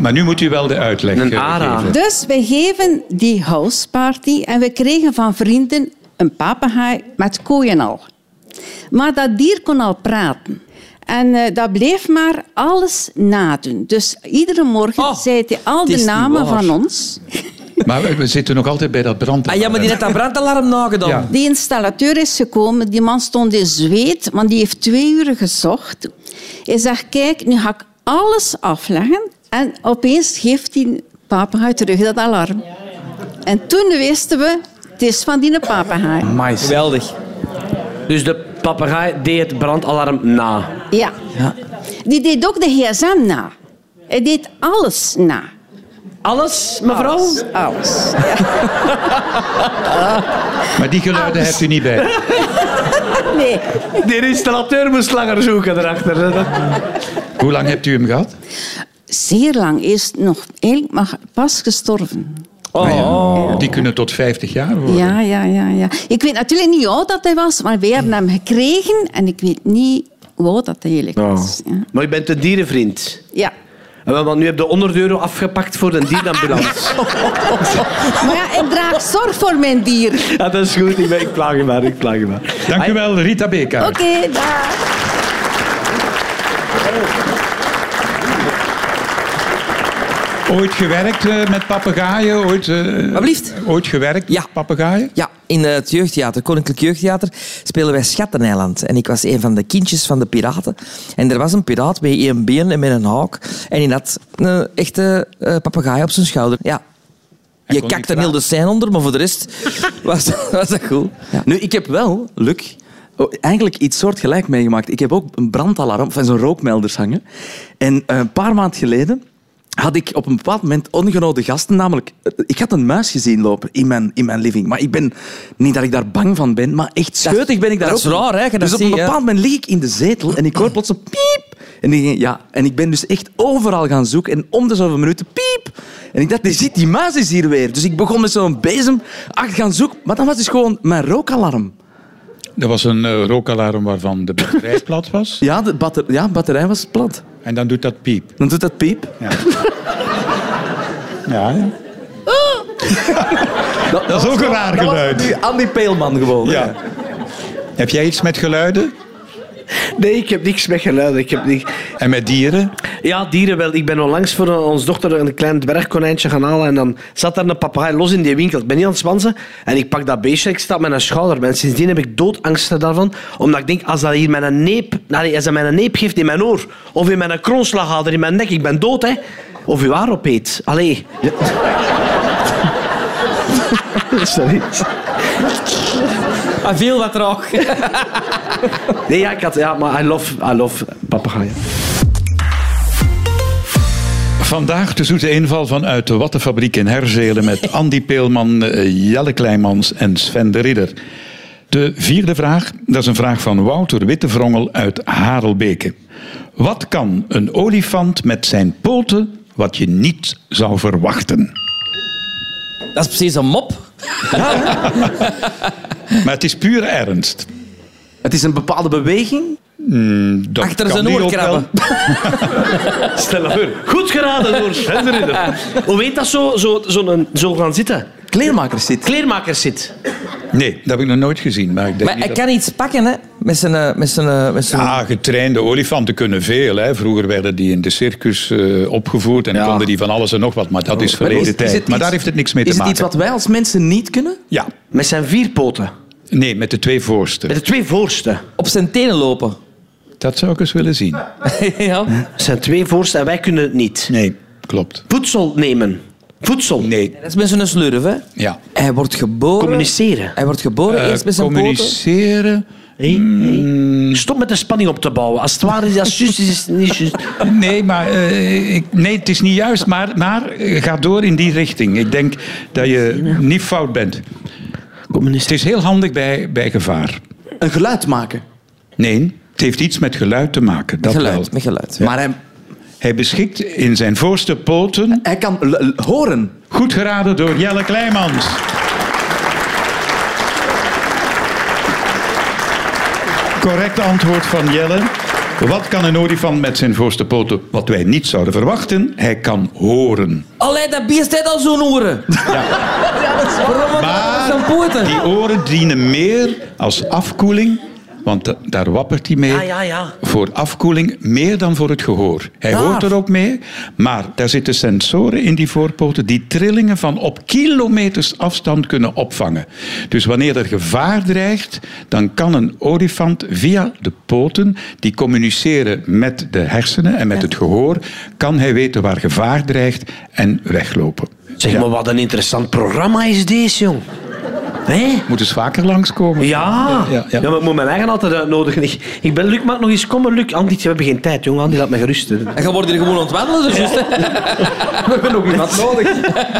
Speaker 2: Maar nu moet u wel de uitleg
Speaker 3: Een
Speaker 2: eh,
Speaker 3: ara.
Speaker 2: geven.
Speaker 6: Dus we geven die houseparty en we kregen van vrienden een papegaai met kooien al. Maar dat dier kon al praten. En eh, dat bleef maar alles nadoen. Dus iedere morgen
Speaker 4: Oh,
Speaker 6: zei hij al
Speaker 4: het
Speaker 6: de
Speaker 4: is niet
Speaker 6: namen
Speaker 4: waar.
Speaker 6: van ons.
Speaker 2: Maar we- we zitten nog altijd bij dat brand.
Speaker 4: Ah, ja, maar die heeft dat brandalarm nagedaan.
Speaker 2: Ja.
Speaker 6: Die installateur is gekomen, die man stond in zweet, want die heeft twee uur gezocht. Hij zegt, kijk, nu ga ik alles afleggen. En opeens geeft die papegaai terug dat alarm. En toen wisten we, het is van die papegaai.
Speaker 5: Amai.
Speaker 4: Geweldig.
Speaker 3: Dus de papegaai deed het brandalarm na.
Speaker 6: Ja. Die deed ook de gsm na. Hij deed alles na.
Speaker 3: Alles, mevrouw?
Speaker 6: Alles. Alles.
Speaker 2: Maar die geluiden
Speaker 4: Ah.
Speaker 2: hebt u niet bij.
Speaker 6: Nee.
Speaker 3: De installateur moest langer zoeken erachter.
Speaker 2: Hoe lang hebt u hem gehad?
Speaker 6: Zeer lang Hij is nog eigenlijk maar pas gestorven.
Speaker 2: Ah,
Speaker 3: oh.
Speaker 4: Oh.
Speaker 2: ja. Die kunnen tot 50 jaar worden.
Speaker 6: Ja, ja, ja, ja. Ik weet natuurlijk niet hoe oud dat hij was, maar wij hebben hem gekregen en ik weet niet hoe oud dat hij eigenlijk was. Ja.
Speaker 3: Maar je bent een dierenvriend.
Speaker 6: ja.
Speaker 3: En wel, Want nu heb je 100 euro afgepakt voor een dierenambulance.
Speaker 6: Maar ja, ik draag zorg voor mijn dier.
Speaker 3: ja, dat is goed. Ik, ben, ik plaag je maar, ik plaag je maar.
Speaker 2: Dank u wel, Rita Beka.
Speaker 6: Oké, dag.
Speaker 2: Ooit gewerkt eh, met papegaaien? Ooit, eh,
Speaker 4: Alsjeblieft.
Speaker 2: ooit gewerkt
Speaker 4: Ja.
Speaker 2: met papegaaien?
Speaker 4: Ja, in het jeugdtheater, Koninklijk Jeugdtheater, spelen wij Schatteneiland. En ik was een van de kindjes van de piraten. En er was een piraat met één been en met een haak. En die had een echte eh papegaai op zijn schouder. Ja. Je
Speaker 2: kon niet
Speaker 4: kakt een heel de scène onder, maar voor de rest was, was dat goed. Ja.
Speaker 5: Nu, ik heb wel, Luc, oh, eigenlijk iets soortgelijk meegemaakt. Ik heb ook een brandalarm, van zo'n rookmelders hangen. En eh, een paar maanden geleden had ik op een bepaald moment ongenode gasten, namelijk... eh, Ik had een muis gezien lopen in mijn, in mijn living. Maar ik ben... Niet dat ik daar bang van ben, maar echt scheutig ben ik daar
Speaker 4: dat
Speaker 5: ook
Speaker 4: is
Speaker 5: niet.
Speaker 4: raar, hè, je dat
Speaker 5: Dus op een
Speaker 4: ziet, hè.
Speaker 5: bepaald moment lig ik in de zetel en ik hoor plots een piep. En ik, denk, ja, en ik ben dus echt overal gaan zoeken. En om de zoveel minuten piep. En ik dacht, die, zit, die muis is hier weer. Dus ik begon met zo'n bezem achter gaan zoeken. Maar dat was dus gewoon mijn rookalarm.
Speaker 2: Er was een eh, rookalarm waarvan de batterij plat was.
Speaker 5: Ja, de batter ja, batterij was plat.
Speaker 2: En dan doet dat piep.
Speaker 5: Dan doet dat piep.
Speaker 2: Ja, ja.
Speaker 4: Oh.
Speaker 5: Dat,
Speaker 2: is
Speaker 5: was
Speaker 2: ook een
Speaker 5: gewoon-
Speaker 2: raar
Speaker 5: dat was
Speaker 2: geluid.
Speaker 5: nu Andy Peelman gewoon.
Speaker 2: Ja. Heb jij iets met geluiden?
Speaker 3: Nee, ik heb niks met geluiden. Ik heb niks.
Speaker 2: En met dieren?
Speaker 3: Ja, dieren wel. Ik ben onlangs voor eh, ons dochter een klein dwergkonijntje gaan halen. En dan zat daar een papegaai los in die winkel. Ik ben niet aan het zwansen. En ik pak dat beestje. Ik sta met een schouder. En sindsdien heb ik doodangsten daarvan. Omdat ik denk, als dat hier mijn neep... allee, als dat mijn neep geeft in mijn oor. Of in mijn kronslagader, in mijn nek. Ik ben dood, hè. Of u haar opeet. Allee. Sorry.
Speaker 4: Ah, veel wat rook.
Speaker 3: Nee, ja, ik had... Ja, maar I love, I love papegaaien.
Speaker 2: Vandaag de zoete inval vanuit de Wattenfabriek in Herzelen met Andy Peelman, eh, Jelle Kleimans en Sven de Ridder. De vierde vraag, dat is een vraag van Wouter Wittevrongel uit Harelbeke. Wat kan een olifant met zijn poten wat je niet zou verwachten?
Speaker 4: Dat is precies een mop.
Speaker 2: Maar het is puur ernst.
Speaker 5: Het is een bepaalde beweging.
Speaker 2: Dat
Speaker 4: Achter
Speaker 2: kan
Speaker 4: zijn
Speaker 2: die
Speaker 4: oor
Speaker 2: ook wel.
Speaker 4: krabben.
Speaker 3: Stel dat voor. Goed geraden door Sven de Ridder. Hoe weet dat zo, zo, zo, een, zo gaan zitten?
Speaker 5: Kleermakers zit.
Speaker 3: Kleermakers zit.
Speaker 2: Nee, dat heb ik nog nooit gezien. Maar ik denk
Speaker 4: Maar
Speaker 2: niet
Speaker 4: hij
Speaker 2: dat-
Speaker 4: kan iets pakken, hè. Met zijn... eh, Met zijn, eh, met zijn...
Speaker 2: Ja, getrainde olifanten kunnen veel. Hè. Vroeger werden die in de circus eh, opgevoerd en konden die van alles en nog wat. Maar dat is verleden
Speaker 5: het
Speaker 2: tijd. maar
Speaker 5: iets-
Speaker 2: daar heeft het niks mee te
Speaker 5: Is het
Speaker 2: maken.
Speaker 5: iets wat wij als mensen niet kunnen?
Speaker 2: Ja,
Speaker 3: Met zijn vier poten.
Speaker 2: nee, met de twee voorste.
Speaker 3: Met de twee voorste.
Speaker 4: Op zijn tenen lopen.
Speaker 2: Dat, Dat zou ik eens willen zien.
Speaker 4: ja.
Speaker 3: Er zijn twee voorstellen en wij kunnen het niet.
Speaker 2: Nee, klopt.
Speaker 3: Voedsel nemen. Voedsel.
Speaker 2: Nee,
Speaker 4: Dat is met zo'n slurf, hè.
Speaker 2: ja.
Speaker 4: Hij wordt geboren...
Speaker 3: Communiceren.
Speaker 4: Hij wordt geboren
Speaker 2: Eh,
Speaker 4: eerst met zijn poten.
Speaker 2: communiceren.
Speaker 3: Hé, hé.
Speaker 2: Mm.
Speaker 3: Stop met de spanning op te bouwen. Als het waar is, als het juist is, is het niet juist.
Speaker 2: Nee, maar, eh, ik, nee, het is niet juist, maar, maar eh, ga door in die richting. Ik denk dat je niet fout bent. Het is heel handig bij, bij gevaar.
Speaker 5: Een geluid maken.
Speaker 2: Nee, het heeft iets met geluid te maken. Dat
Speaker 4: Geluid,
Speaker 2: wel.
Speaker 4: met geluid.
Speaker 5: Maar hij,
Speaker 2: Hij beschikt in zijn voorste poten,
Speaker 5: hij kan l- l- horen.
Speaker 2: goed geraden door Jelle Kleimans. Correct antwoord van Jelle. Wat kan een olifant met zijn voorste poten? Wat wij niet zouden verwachten, hij kan horen.
Speaker 4: Allee, dat beest heeft al zo'n oren. Ja, dat is waarom had hij
Speaker 2: Maar
Speaker 4: zo'n poten?
Speaker 2: die oren dienen meer als afkoeling, want da- daar wappert hij mee. Voor afkoeling meer dan voor het gehoor. Hij
Speaker 4: Daar.
Speaker 2: hoort er ook mee, maar daar zitten sensoren in die voorpoten die trillingen van op kilometers afstand kunnen opvangen. Dus wanneer er gevaar dreigt, dan kan een olifant via de poten, die communiceren met de hersenen en met het gehoor, kan hij weten waar gevaar dreigt en weglopen.
Speaker 3: Zeg
Speaker 2: Ja.
Speaker 3: maar, wat een interessant programma is deze, jong. Hé?
Speaker 2: Moet eens vaker langskomen.
Speaker 3: Ja.
Speaker 2: Ja,
Speaker 3: Ja,
Speaker 2: ja.
Speaker 3: maar ik moet mijn eigen altijd uitnodigen. Ik, ik ben Luc, maak nog eens komen. Luc, Andy, we hebben geen tijd, jong. Andy, laat me gerust. hè.
Speaker 4: En je wordt hier gewoon ontwandelen, dus juist, hè. We hebben nog iemand nodig.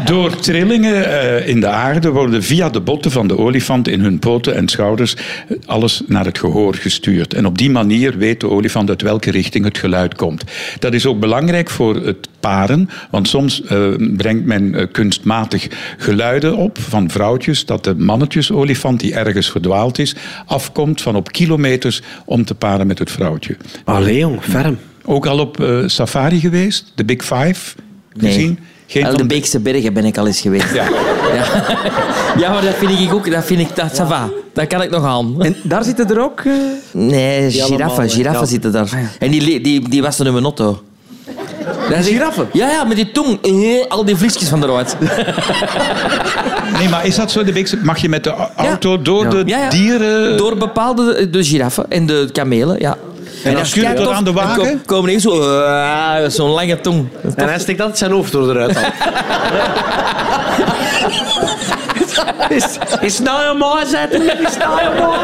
Speaker 2: Door trillingen eh, in de aarde worden via de botten van de olifant in hun poten en schouders eh, alles naar het gehoor gestuurd. En op die manier weet de olifant uit welke richting het geluid komt. Dat is ook belangrijk voor het paren, want soms eh, brengt men eh, kunstmatig geluiden op van vrouwtjes, dat de mannetjesolifant die ergens verdwaald is, afkomt van op kilometers om te paren met het vrouwtje.
Speaker 3: Allee, jong, ferm.
Speaker 2: Ook al op eh, safari geweest, de Big Five,
Speaker 4: Nee.
Speaker 2: gezien? Geen
Speaker 4: Wel,
Speaker 2: van
Speaker 4: de
Speaker 2: de-
Speaker 4: Beekse Bergen ben ik al eens geweest. Ja, ja. maar dat vind ik ook... Dat vind ik... Dat, ça va. Dat kan ik nog aan.
Speaker 5: En daar zitten er ook... eh,
Speaker 4: Nee,
Speaker 3: allemaal, hè.
Speaker 4: giraffen. Giraffen
Speaker 3: Ja.
Speaker 4: zitten daar. En die, le- die, die wassen hun auto. Dat is
Speaker 5: Giraffen?
Speaker 4: Ja, ja, met die tong. Eh, Al die vliesjes van eruit.
Speaker 2: Nee, maar is dat zo? De Beekse- Mag je met de au- auto door de
Speaker 4: Ja, ja.
Speaker 2: dieren...
Speaker 4: Door bepaalde... De giraffen en de kamelen, ja. En,
Speaker 2: dan schuurt het aan de wagen?
Speaker 4: Dan komen even zo... eh, Zo'n lange tong.
Speaker 3: En hij steekt altijd zijn hoofd door eruit. al. is, is nou een mooi zetten? Is nou een mooi?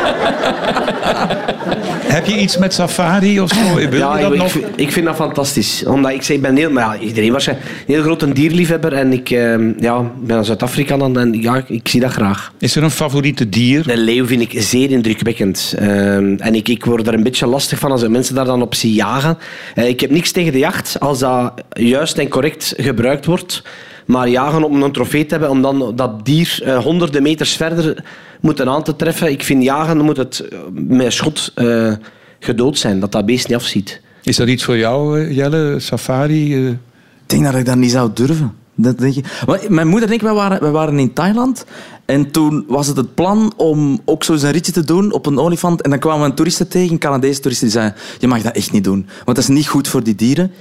Speaker 2: Heb je iets met safari of zo? Wil
Speaker 3: ja,
Speaker 2: je dat
Speaker 3: ik,
Speaker 2: nog?
Speaker 3: vind- ik vind dat fantastisch. Omdat ik, zeg, ik ben heel, maar ja, iedereen waarschijnlijk, een heel groot een dierliefhebber. En ik ehm, ja, ben een Zuid-Afrikaan dan en ja, ik, ik zie dat graag.
Speaker 2: Is er een favoriete dier?
Speaker 3: De leeuw vind ik zeer indrukwekkend. Ehm, en ik, ik word er een beetje lastig van als ik mensen daar dan op zie jagen. Eh, ik heb niks tegen de jacht als dat juist en correct gebruikt wordt. Maar jagen om een trofee te hebben, om dan dat dier eh, honderden meters verder moeten aan te treffen. Ik vind jagen dan moet het eh, met een schot eh, gedood zijn, dat dat beest niet afziet.
Speaker 2: Is dat iets voor jou, eh, Jelle? Safari? eh?
Speaker 5: Ik denk dat ik dat niet zou durven. Dat denk ik. Maar Mijn moeder en ik, wij waren, wij waren in Thailand. En toen was het het plan om ook zo eens een ritje te doen op een olifant. En dan kwamen we een toeriste tegen, een Canadese toerist, die zei... Je mag dat echt niet doen, want dat is niet goed voor die dieren.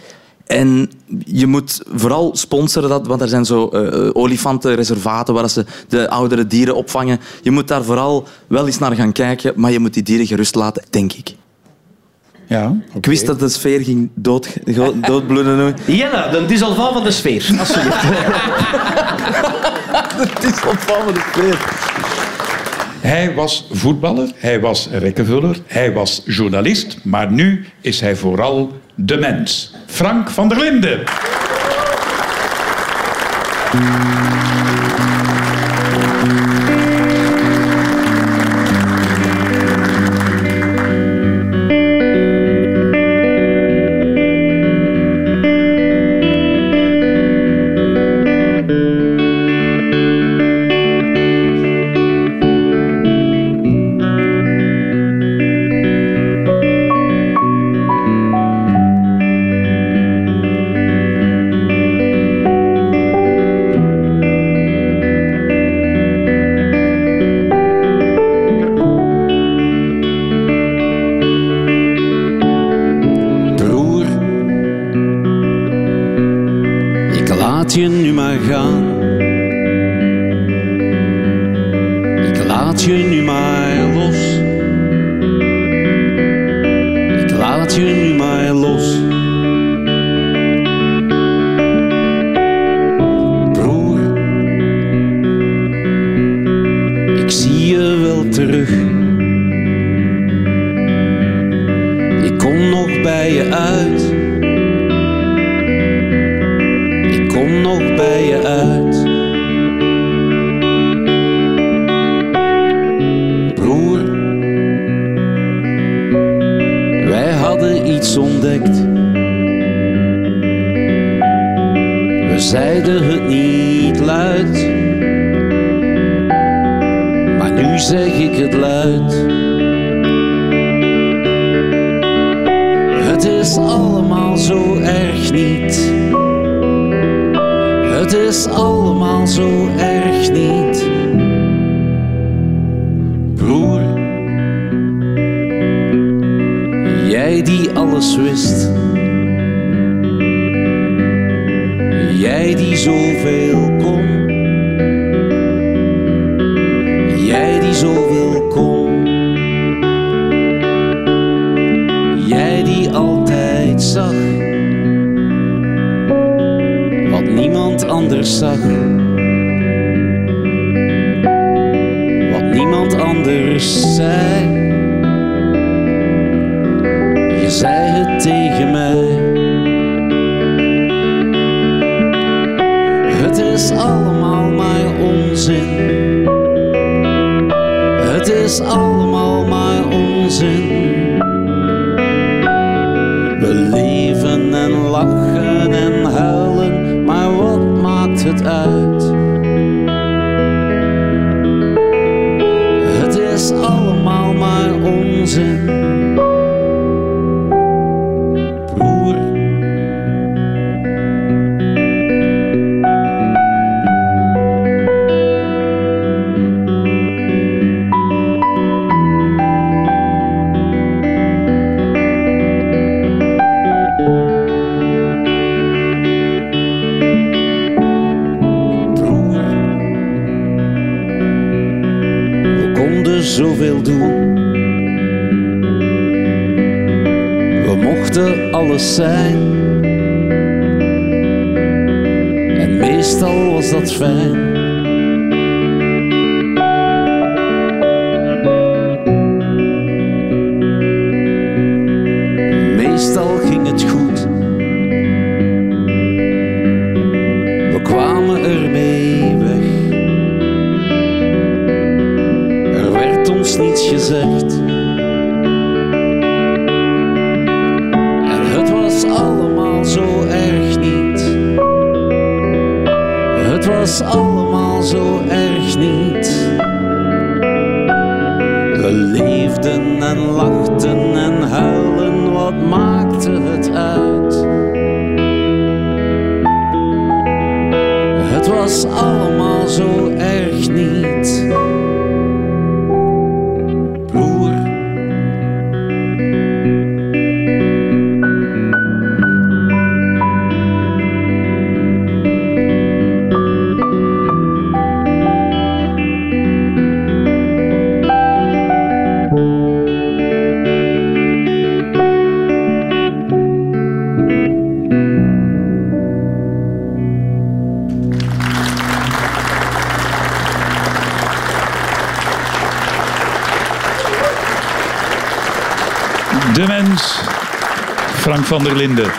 Speaker 5: En je moet vooral sponsoren dat, want er zijn zo eh, olifantenreservaten waar ze de oudere dieren opvangen. Je moet daar vooral wel eens naar gaan kijken, maar je moet die dieren gerust laten, denk ik.
Speaker 2: Ja.
Speaker 5: Ik wist dat de sfeer ging dood, go- doodbloeden.
Speaker 3: Jelle, de dissolvant van de sfeer.
Speaker 5: Het is opvallend sfeer.
Speaker 2: Hij was voetballer, hij was rekkenvuller, hij was journalist, maar nu is hij vooral de mens. Frank van der Linden.
Speaker 7: Broer, ik laat je nu maar gaan. Ik laat je nu maar los. Ik laat
Speaker 8: laat je nu maar los. Broer, ik zie je wel terug. Ik kom nog bij je uit. Ik kom nog bij je uit. Broer, wij hadden iets ontdekt. We zeiden het niet luid, maar nu zeg ik het luid. Het is allemaal zo erg niet. Het is allemaal zo erg niet. Broer, jij die alles wist. Jij die zoveel kon. Jij die zoveel kon. Jij die altijd zag. Wat niemand anders zag. Wat niemand anders zei. Je zei het tegen mij. Het is allemaal maar onzin. Het is allemaal maar onzin. We leven en lachen en huilen, maar wat maakt het uit? Het is allemaal maar onzin. Broer, broer. We konden zoveel doen. We mochten alles zijn. En meestal was dat fijn. Meestal ging het goed. We kwamen ermee weg. Er werd ons niets gezegd. En het was allemaal zo erg niet. Het was allemaal zo erg niet. We leefden en lachten en huilen, wat maakte het uit? Het was allemaal zo erg niet. Broer.
Speaker 2: De Mens, Frank van der Linden.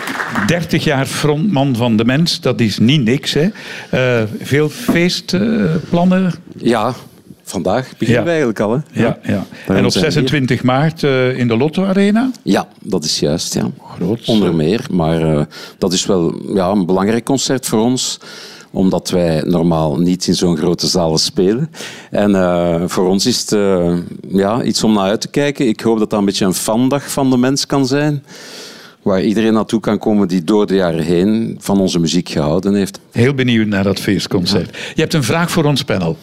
Speaker 2: 30 jaar frontman van De Mens, dat is niet niks. Hè? Eh, veel feestplannen.
Speaker 9: Ja, vandaag beginnen
Speaker 2: Ja.
Speaker 9: we eigenlijk al. Hè?
Speaker 2: ja, ja.
Speaker 9: Daarom
Speaker 2: En op
Speaker 9: zijn we hier.
Speaker 2: 26 maart eh, in de Lotto Arena.
Speaker 9: Ja, dat is juist. Ja.
Speaker 2: Groot.
Speaker 9: Onder meer. Maar eh, dat is wel ja, een belangrijk concert voor ons omdat wij normaal niet in zo'n grote zalen spelen. En eh, voor ons is het eh, ja, iets om naar uit te kijken. Ik hoop dat dat een beetje een fandag van de mens kan zijn. Waar iedereen naartoe kan komen die door de jaren heen van onze muziek gehouden heeft.
Speaker 2: Heel benieuwd naar dat feestconcert. Je hebt een vraag voor ons panel.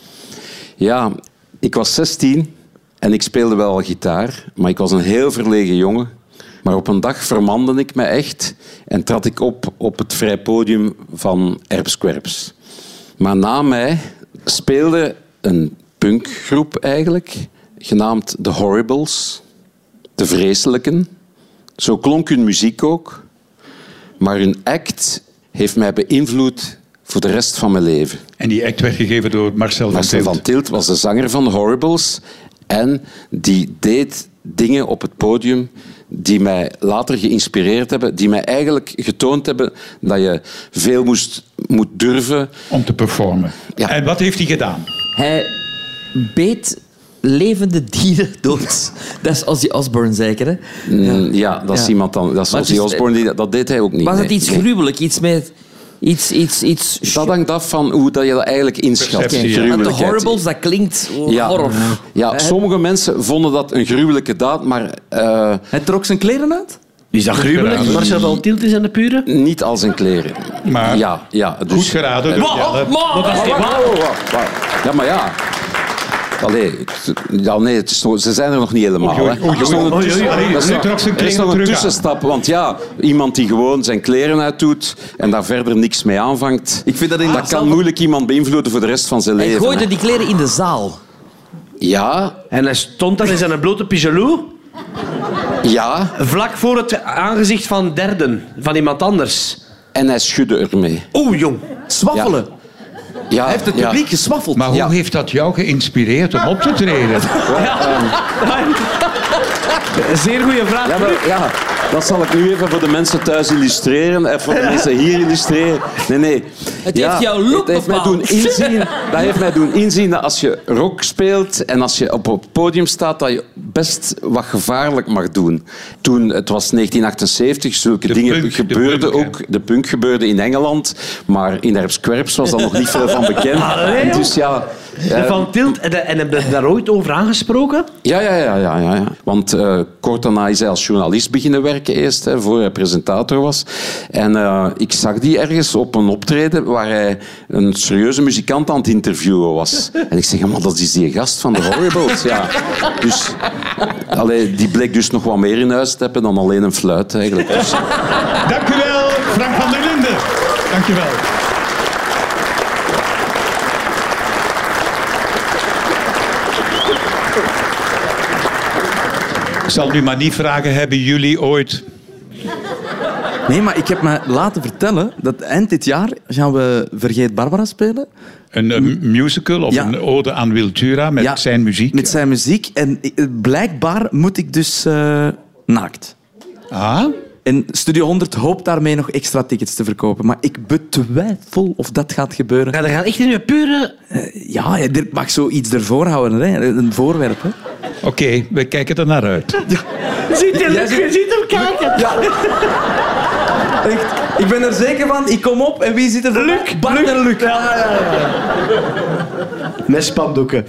Speaker 9: Ja, ik was 16 en ik speelde wel al gitaar, maar ik was een heel verlegen jongen. Maar op een dag vermande ik me echt en trad ik op op het vrij podium van Erpskwerps. Maar na mij speelde een punkgroep eigenlijk, genaamd The Horribles, De Vreselijken,
Speaker 8: Zo klonk hun muziek ook, maar hun act heeft mij beïnvloed voor de rest van mijn leven.
Speaker 2: En die act werd gegeven door Marcel,
Speaker 8: Marcel
Speaker 2: van
Speaker 8: van
Speaker 2: Tilt.
Speaker 8: Tilt was de zanger van de Horribles en die deed dingen op het podium die mij later geïnspireerd hebben, die mij eigenlijk getoond hebben dat je veel moest, moet durven.
Speaker 2: om te performen.
Speaker 8: Ja.
Speaker 2: En wat heeft hij gedaan?
Speaker 4: Hij beet levende dieren dood. Dat is Ozzy Osbourne zeker, hè?
Speaker 8: Ja, dat is
Speaker 4: Ja.
Speaker 8: iemand dan. Dat is
Speaker 4: Maar het
Speaker 8: Ozzy
Speaker 4: is-
Speaker 8: Osbourne, die, dat deed hij ook niet.
Speaker 4: Was het
Speaker 8: nee.
Speaker 4: iets
Speaker 8: Nee.
Speaker 4: gruwelijk? Iets met... Iets, iets, iets...
Speaker 8: Dat hangt af van hoe dat je dat eigenlijk inschat.
Speaker 2: Perceptie, ja.
Speaker 4: Want de
Speaker 8: Gruwelijkheid.
Speaker 4: horribles, dat klinkt
Speaker 8: Ja,
Speaker 4: horror.
Speaker 8: ja sommige mensen vonden dat een gruwelijke daad, maar eh,
Speaker 5: Hij trok zijn kleren uit?
Speaker 3: Is dat gruwelijk?
Speaker 2: Geraden.
Speaker 3: Marcel van Tielt is aan de pure.
Speaker 8: niet als een kleren.
Speaker 2: Maar-
Speaker 8: ja, ja, dus,
Speaker 2: Goed geraden. door Jelle. Want dat is
Speaker 10: Oh.
Speaker 8: Wauw,
Speaker 2: geen-
Speaker 8: wauw, wauw, wauw. Ja, maar ja. Allee, het- ja, nee, het is nog- ze zijn er nog niet helemaal.
Speaker 2: Oei, oei,
Speaker 8: hè.
Speaker 2: oei,
Speaker 8: Er is nog een
Speaker 2: oei, oei,
Speaker 8: tussen-
Speaker 2: oei, oei.
Speaker 8: er is
Speaker 2: Nu
Speaker 8: nog-
Speaker 2: trok ze een
Speaker 8: Er is
Speaker 2: kleren
Speaker 8: nog een
Speaker 2: terug aan.
Speaker 8: tussenstap, want ja, iemand die gewoon zijn kleren uitdoet en daar verder niks mee aanvangt,
Speaker 5: Ik vind dat in
Speaker 8: dat
Speaker 5: datzelfde-
Speaker 8: kan moeilijk iemand beïnvloeden voor de rest van zijn
Speaker 4: Hij
Speaker 8: leven.
Speaker 4: gooide die kleren in de zaal.
Speaker 8: Ja,
Speaker 3: En hij stond dan in zijn blote pyjaloe,
Speaker 8: ja,
Speaker 3: vlak voor het aangezicht van derden, van iemand anders.
Speaker 8: en hij schudde ermee.
Speaker 3: Oeh, jong.
Speaker 5: Swaffelen.
Speaker 8: Ja,
Speaker 5: Hij heeft het publiek geswaffeld.
Speaker 2: Maar hoe
Speaker 8: Ja.
Speaker 2: heeft dat jou geïnspireerd om op te treden?
Speaker 3: Zeer goede vraag.
Speaker 8: Ja, maar, ja, dat zal ik nu even voor de mensen thuis illustreren en voor de mensen hier illustreren. Nee, nee.
Speaker 4: Het heeft jouw look
Speaker 8: het heeft mij doen
Speaker 4: bepaald.
Speaker 8: inzien, Dat heeft mij doen inzien dat als je rock speelt en als je op het podium staat, dat je best wat gevaarlijk mag doen. Toen, het was 1978, zulke
Speaker 2: De
Speaker 8: dingen
Speaker 2: punk, de
Speaker 8: gebeurden
Speaker 2: punk, hè.
Speaker 8: ook. De punk gebeurde in Engeland, maar in Herpskwerps was daar nog niet veel van bekend.
Speaker 3: Allee,
Speaker 8: En dus ja...
Speaker 3: De
Speaker 8: eh,
Speaker 3: Van Tilt, en, en hebben we daar ooit over aangesproken?
Speaker 8: ja, ja, ja, ja, ja. ja. Want eh, kort daarna is hij als journalist beginnen werken eerst, hè, voor hij presentator was. En eh, ik zag die ergens op een optreden waar hij een serieuze muzikant aan het interviewen was. En ik zeg, maar dat is die gast van de Horribles, ja. Dus, allee, die bleek dus nog wat meer in huis te hebben dan alleen een fluit eigenlijk. Dus,
Speaker 2: Dank u wel, Frank van der Linden. Dank je wel. Ik zal nu maar niet vragen, hebben jullie ooit...
Speaker 5: Nee, maar ik heb me laten vertellen dat eind dit jaar gaan we Vergeet Barbara spelen.
Speaker 2: Een, eh, musical of
Speaker 5: Ja.
Speaker 2: een ode aan Wiltura met
Speaker 5: Ja,
Speaker 2: zijn muziek.
Speaker 5: Met zijn muziek. En ik- blijkbaar moet ik dus eh, naakt.
Speaker 2: Ah,
Speaker 5: En Studio 100 hoopt daarmee nog extra tickets te verkopen. Maar ik betwijfel of dat gaat gebeuren.
Speaker 3: Ja, dat gaat echt in je pure...
Speaker 5: Ja, ja, Dirk mag zoiets ervoor houden. Hè? Een voorwerp. Hè?
Speaker 2: oké, we kijken er naar uit.
Speaker 3: Ziet je,
Speaker 5: Jij zit-
Speaker 3: ziet hem kijken.
Speaker 5: Ja. Echt, ik ben er zeker van. Ik kom op en wie zit er voor mij? Bart en Luc.
Speaker 3: Met spandoeken.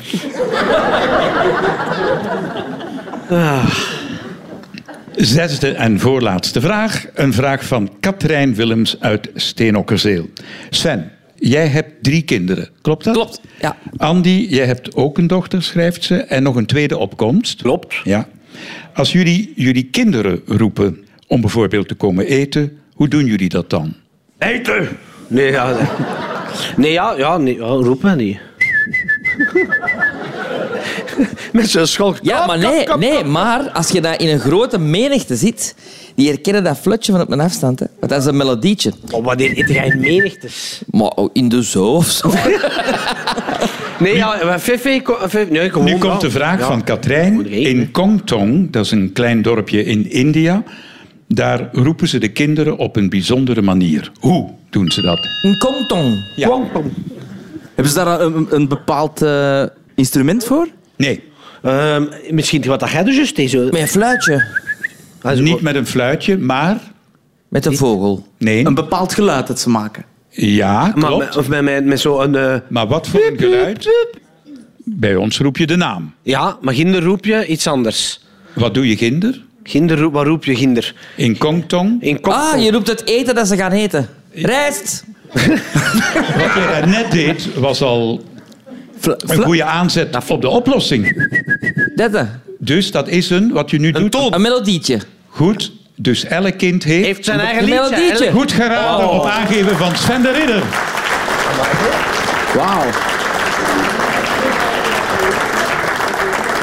Speaker 2: Zesde en voorlaatste vraag. Een vraag van Katrijn Willems uit Steenokkerzeel. Sven, jij hebt drie kinderen, klopt dat?
Speaker 4: Klopt, ja.
Speaker 2: Andy, jij hebt ook een dochter, schrijft ze, en nog een tweede opkomst.
Speaker 3: Klopt.
Speaker 2: Ja. Als jullie jullie kinderen roepen om bijvoorbeeld te komen eten, hoe doen jullie dat dan?
Speaker 3: Eten! Nee, ja... Nee, nee ja, ja, nee, ja, roep mij niet. Met zo'n schalk.
Speaker 4: Ja, maar nee, nee, maar als je daar in een grote menigte zit, die herkennen dat flutje van op een afstand. Hè. Want dat is een melodietje.
Speaker 3: Oh, wanneer eet jij in menigtes?
Speaker 4: Maar in de zoo of zo.
Speaker 3: Nee, ja, eh, maar Fefe... ko- Fefe- Nee, gewoon,
Speaker 2: Nu komt
Speaker 3: ja.
Speaker 2: de vraag
Speaker 3: Ja.
Speaker 2: van Katrijn.
Speaker 3: Moet eten.
Speaker 2: In Kongtong, dat is een klein dorpje in India, daar roepen ze de kinderen op een bijzondere manier. Hoe doen ze dat?
Speaker 4: Een kongtong.
Speaker 2: Ja.
Speaker 5: Hebben ze daar een, een bepaald eh, instrument voor?
Speaker 2: Nee,
Speaker 3: Ehm, misschien wat dat jij dus juist deed, zo.
Speaker 4: Met een fluitje.
Speaker 3: Ah, zo-
Speaker 2: niet met een fluitje, maar...
Speaker 4: Met een vogel.
Speaker 2: Nee,
Speaker 5: Een bepaald geluid dat ze maken.
Speaker 2: ja,
Speaker 3: Maar,
Speaker 2: klopt.
Speaker 3: met- of met, met, met zo'n... eh,
Speaker 2: Maar wat voor een geluid? Bij ons roep je de naam.
Speaker 3: ja, maar ginder roep je iets anders.
Speaker 2: Wat doe je kinder?
Speaker 3: Ginder, roep- wat roep je ginder?
Speaker 2: In Kongtong?
Speaker 3: In kop.
Speaker 4: Ah, je roept het eten dat ze gaan eten. Rijst.
Speaker 2: Wat je daar net deed, was al
Speaker 5: Fla-
Speaker 2: een
Speaker 5: fla-
Speaker 2: goede
Speaker 3: Nou,
Speaker 2: aanzet op de oplossing.
Speaker 4: Dat, hè.
Speaker 2: Dus dat is een, wat je nu doet...
Speaker 4: Een melodietje.
Speaker 2: Goed, dus elk kind heeft...
Speaker 3: heeft zijn eigen
Speaker 4: Een
Speaker 3: liedje.
Speaker 4: melodietje.
Speaker 3: hè?
Speaker 2: Goed geraden op aangeven van Sven de Ridder.
Speaker 5: Wauw.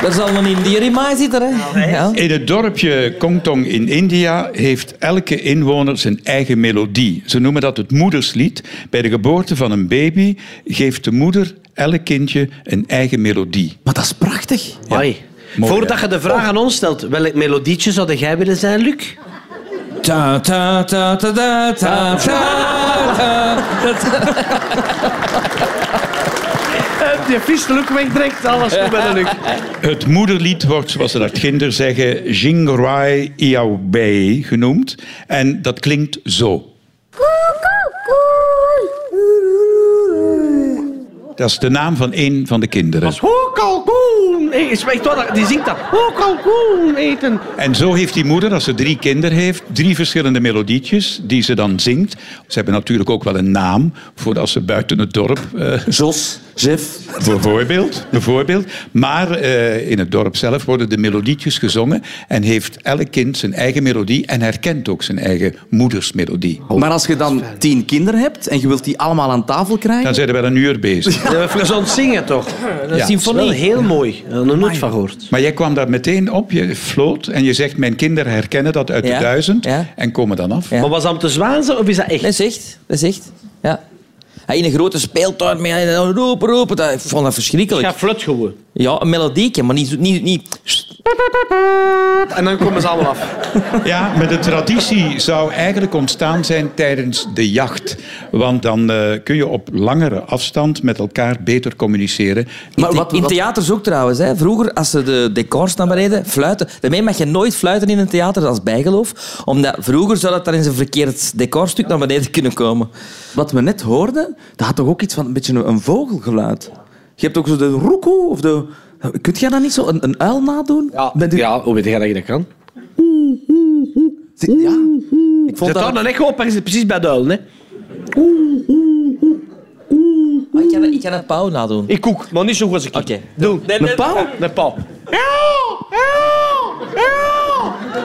Speaker 4: Daar zal een Indiër in mij zitten, hè? Ja.
Speaker 2: In het dorpje Kongtong in India heeft elke inwoner zijn eigen melodie. Ze noemen dat het moederslied. Bij de geboorte van een baby geeft de moeder elk kindje een eigen melodie.
Speaker 5: Maar dat is prachtig.
Speaker 3: Hoi.
Speaker 2: Mooi,
Speaker 3: Voordat
Speaker 2: hè?
Speaker 3: je de vraag aan ons stelt, welk melodietje zou jij willen zijn, Luc?
Speaker 4: Ta ta ta ta ta ta ta ta ta.
Speaker 3: Je vies Luc wegdrekt, alles goed bij de Luc.
Speaker 2: Het moederlied wordt, zoals ze dat kinder zeggen, Jingrai Iaobei genoemd. En dat klinkt zo. Dat is de naam van een van de kinderen.
Speaker 3: Hoe kalkoen! Hey, is echt waar, die zingt dat. Hoe kalkoen eten!
Speaker 2: En zo heeft die moeder, als ze drie kinderen heeft, drie verschillende melodietjes die ze dan zingt. Ze hebben natuurlijk ook wel een naam voordat ze buiten het dorp eh,
Speaker 5: Jos, Jeff.
Speaker 2: Bijvoorbeeld, bijvoorbeeld. Maar eh, in het dorp zelf worden de melodietjes gezongen en heeft elk kind zijn eigen melodie en herkent ook zijn eigen moedersmelodie.
Speaker 3: Oh,
Speaker 5: Maar als je dan tien kinderen hebt en je wilt die allemaal aan tafel
Speaker 2: Dan
Speaker 5: krijgen...
Speaker 2: zijn we wel een uur bezig.
Speaker 3: Dat hebben we gezond zingen, toch? Dat
Speaker 2: Ja.
Speaker 3: is wel heel mooi. eh, Daar heb ik nooit van gehoord.
Speaker 2: Maar jij kwam daar meteen op, je floot, en je zegt mijn kinderen herkennen dat uit
Speaker 4: Ja,
Speaker 2: de duizend
Speaker 4: ja.
Speaker 2: en komen dan af.
Speaker 4: Ja.
Speaker 3: Maar was dat om te zwaanzen of is dat echt?
Speaker 4: Dat is echt. Dat is echt. Ja. Hij In een grote speeltuin, met- en dan roepen, roepen. Dat, ik vond dat verschrikkelijk.
Speaker 3: Ja, flut gewoon.
Speaker 4: Ja, een melodieke, maar niet... zo- niet, niet.
Speaker 3: En dan komen ze allemaal af.
Speaker 2: Ja, maar de traditie zou eigenlijk ontstaan zijn tijdens de jacht. Want dan eh, kun je op langere afstand met elkaar beter communiceren.
Speaker 4: In,
Speaker 5: Maar
Speaker 4: the-
Speaker 5: wat-
Speaker 4: in
Speaker 5: wat-
Speaker 4: theaters ook trouwens. Hè. Vroeger, als ze de decors naar beneden fluiten... Daarmee mag je nooit fluiten in een theater als bijgeloof. Omdat vroeger zou dat daar in een verkeerd decorstuk naar beneden kunnen komen.
Speaker 5: Wat we net hoorden, dat had toch ook iets van een beetje een vogelgeluid? Je hebt ook zo de roekoe of de... Kunt jij dat niet zo een, een uil nadoen? Bent u-
Speaker 3: ja, hoe weet jij dat je dat kan?
Speaker 5: Ja. Ik vond
Speaker 3: Zet
Speaker 5: dat...
Speaker 3: daar een echo op, ergens precies bij de uil, hè?
Speaker 4: Maar ik kan, ik kan een pauw nadoen.
Speaker 3: Ik koek, maar niet zo goed als ik.
Speaker 4: Oké.
Speaker 3: Doe.
Speaker 4: Nee, nee.
Speaker 3: Een pauw? Een pauw.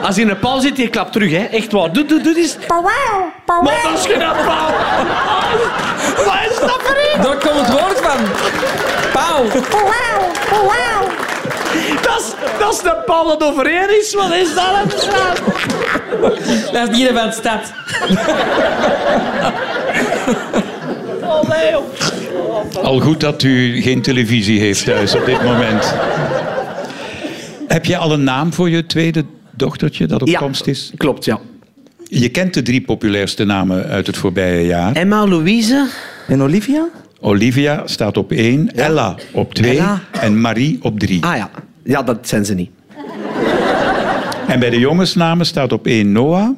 Speaker 3: Als hij in een pauw zit, je klapt terug, hè. Echt waar. Doe, doe, doe dit. Pauw, pauw. Maar dat is geen pauw. Wat is dat voor iets?
Speaker 4: Daar komt het woord van. Pauw.
Speaker 3: Dat is, dat is de pauw dat overheen is. Wat is dat? hè?
Speaker 4: Dat is niet van de stad.
Speaker 3: Oh, nee, joh.
Speaker 2: Al goed dat u geen televisie heeft thuis op dit moment. Heb je al een naam voor je tweede dochtertje dat op
Speaker 3: Ja.
Speaker 2: komst is?
Speaker 3: Klopt, ja.
Speaker 2: Je kent de drie populairste namen uit het voorbije jaar.
Speaker 3: Emma, Louise.
Speaker 5: En Olivia?
Speaker 2: Olivia staat op één, Ella op twee
Speaker 3: Ella.
Speaker 2: en Marie op drie.
Speaker 3: Ah ja. Ja, dat zijn ze niet.
Speaker 2: En bij de jongensnamen staat op één Noah,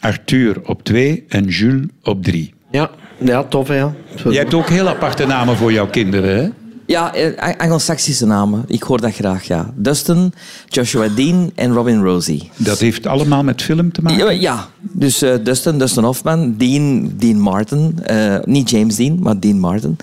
Speaker 2: Arthur op twee en Jules op drie.
Speaker 3: Ja. Ja, tof, hè, ja.
Speaker 2: Je hebt ook heel aparte namen voor jouw kinderen, hè?
Speaker 4: Ja, eh, Anglo-Saxische namen. Ik hoor dat graag, ja. Dustin, Joshua Dean en Robin Rosie.
Speaker 2: Dat heeft allemaal met film te maken.
Speaker 4: Ja, ja. dus eh, Dustin, Dustin Hoffman, Dean, Dean Martin. eh, niet James Dean, maar Dean Martin.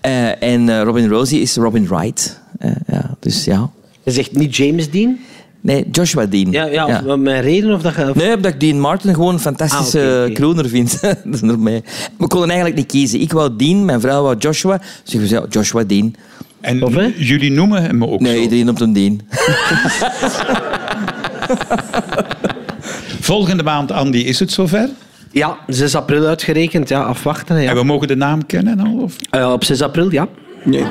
Speaker 4: Eh, en eh, Robin Rosie is Robin Wright. Eh, ja, dus ja.
Speaker 3: Je zegt niet James Dean?
Speaker 4: Nee, Joshua Dean.
Speaker 3: Ja, ja, of mijn reden of dat je...
Speaker 4: Nee, omdat ik Dean Martin gewoon een fantastische
Speaker 3: Ah, oké, oké.
Speaker 4: crooner vind. Dat is door mij. We konden eigenlijk niet kiezen. Ik wou Dean, mijn vrouw wou Joshua. Dus ik zei, Joshua Dean.
Speaker 2: En
Speaker 3: Of, hè?
Speaker 2: jullie noemen hem ook
Speaker 4: Nee,
Speaker 2: zo.
Speaker 4: iedereen noemt hem Dean.
Speaker 2: Volgende maand, Andy, is het zover?
Speaker 3: Ja, 6 april uitgerekend. Ja, afwachten. hè, Ja.
Speaker 2: En we mogen de naam kennen al? Of?
Speaker 3: Eh, op 6 april, ja. Nee,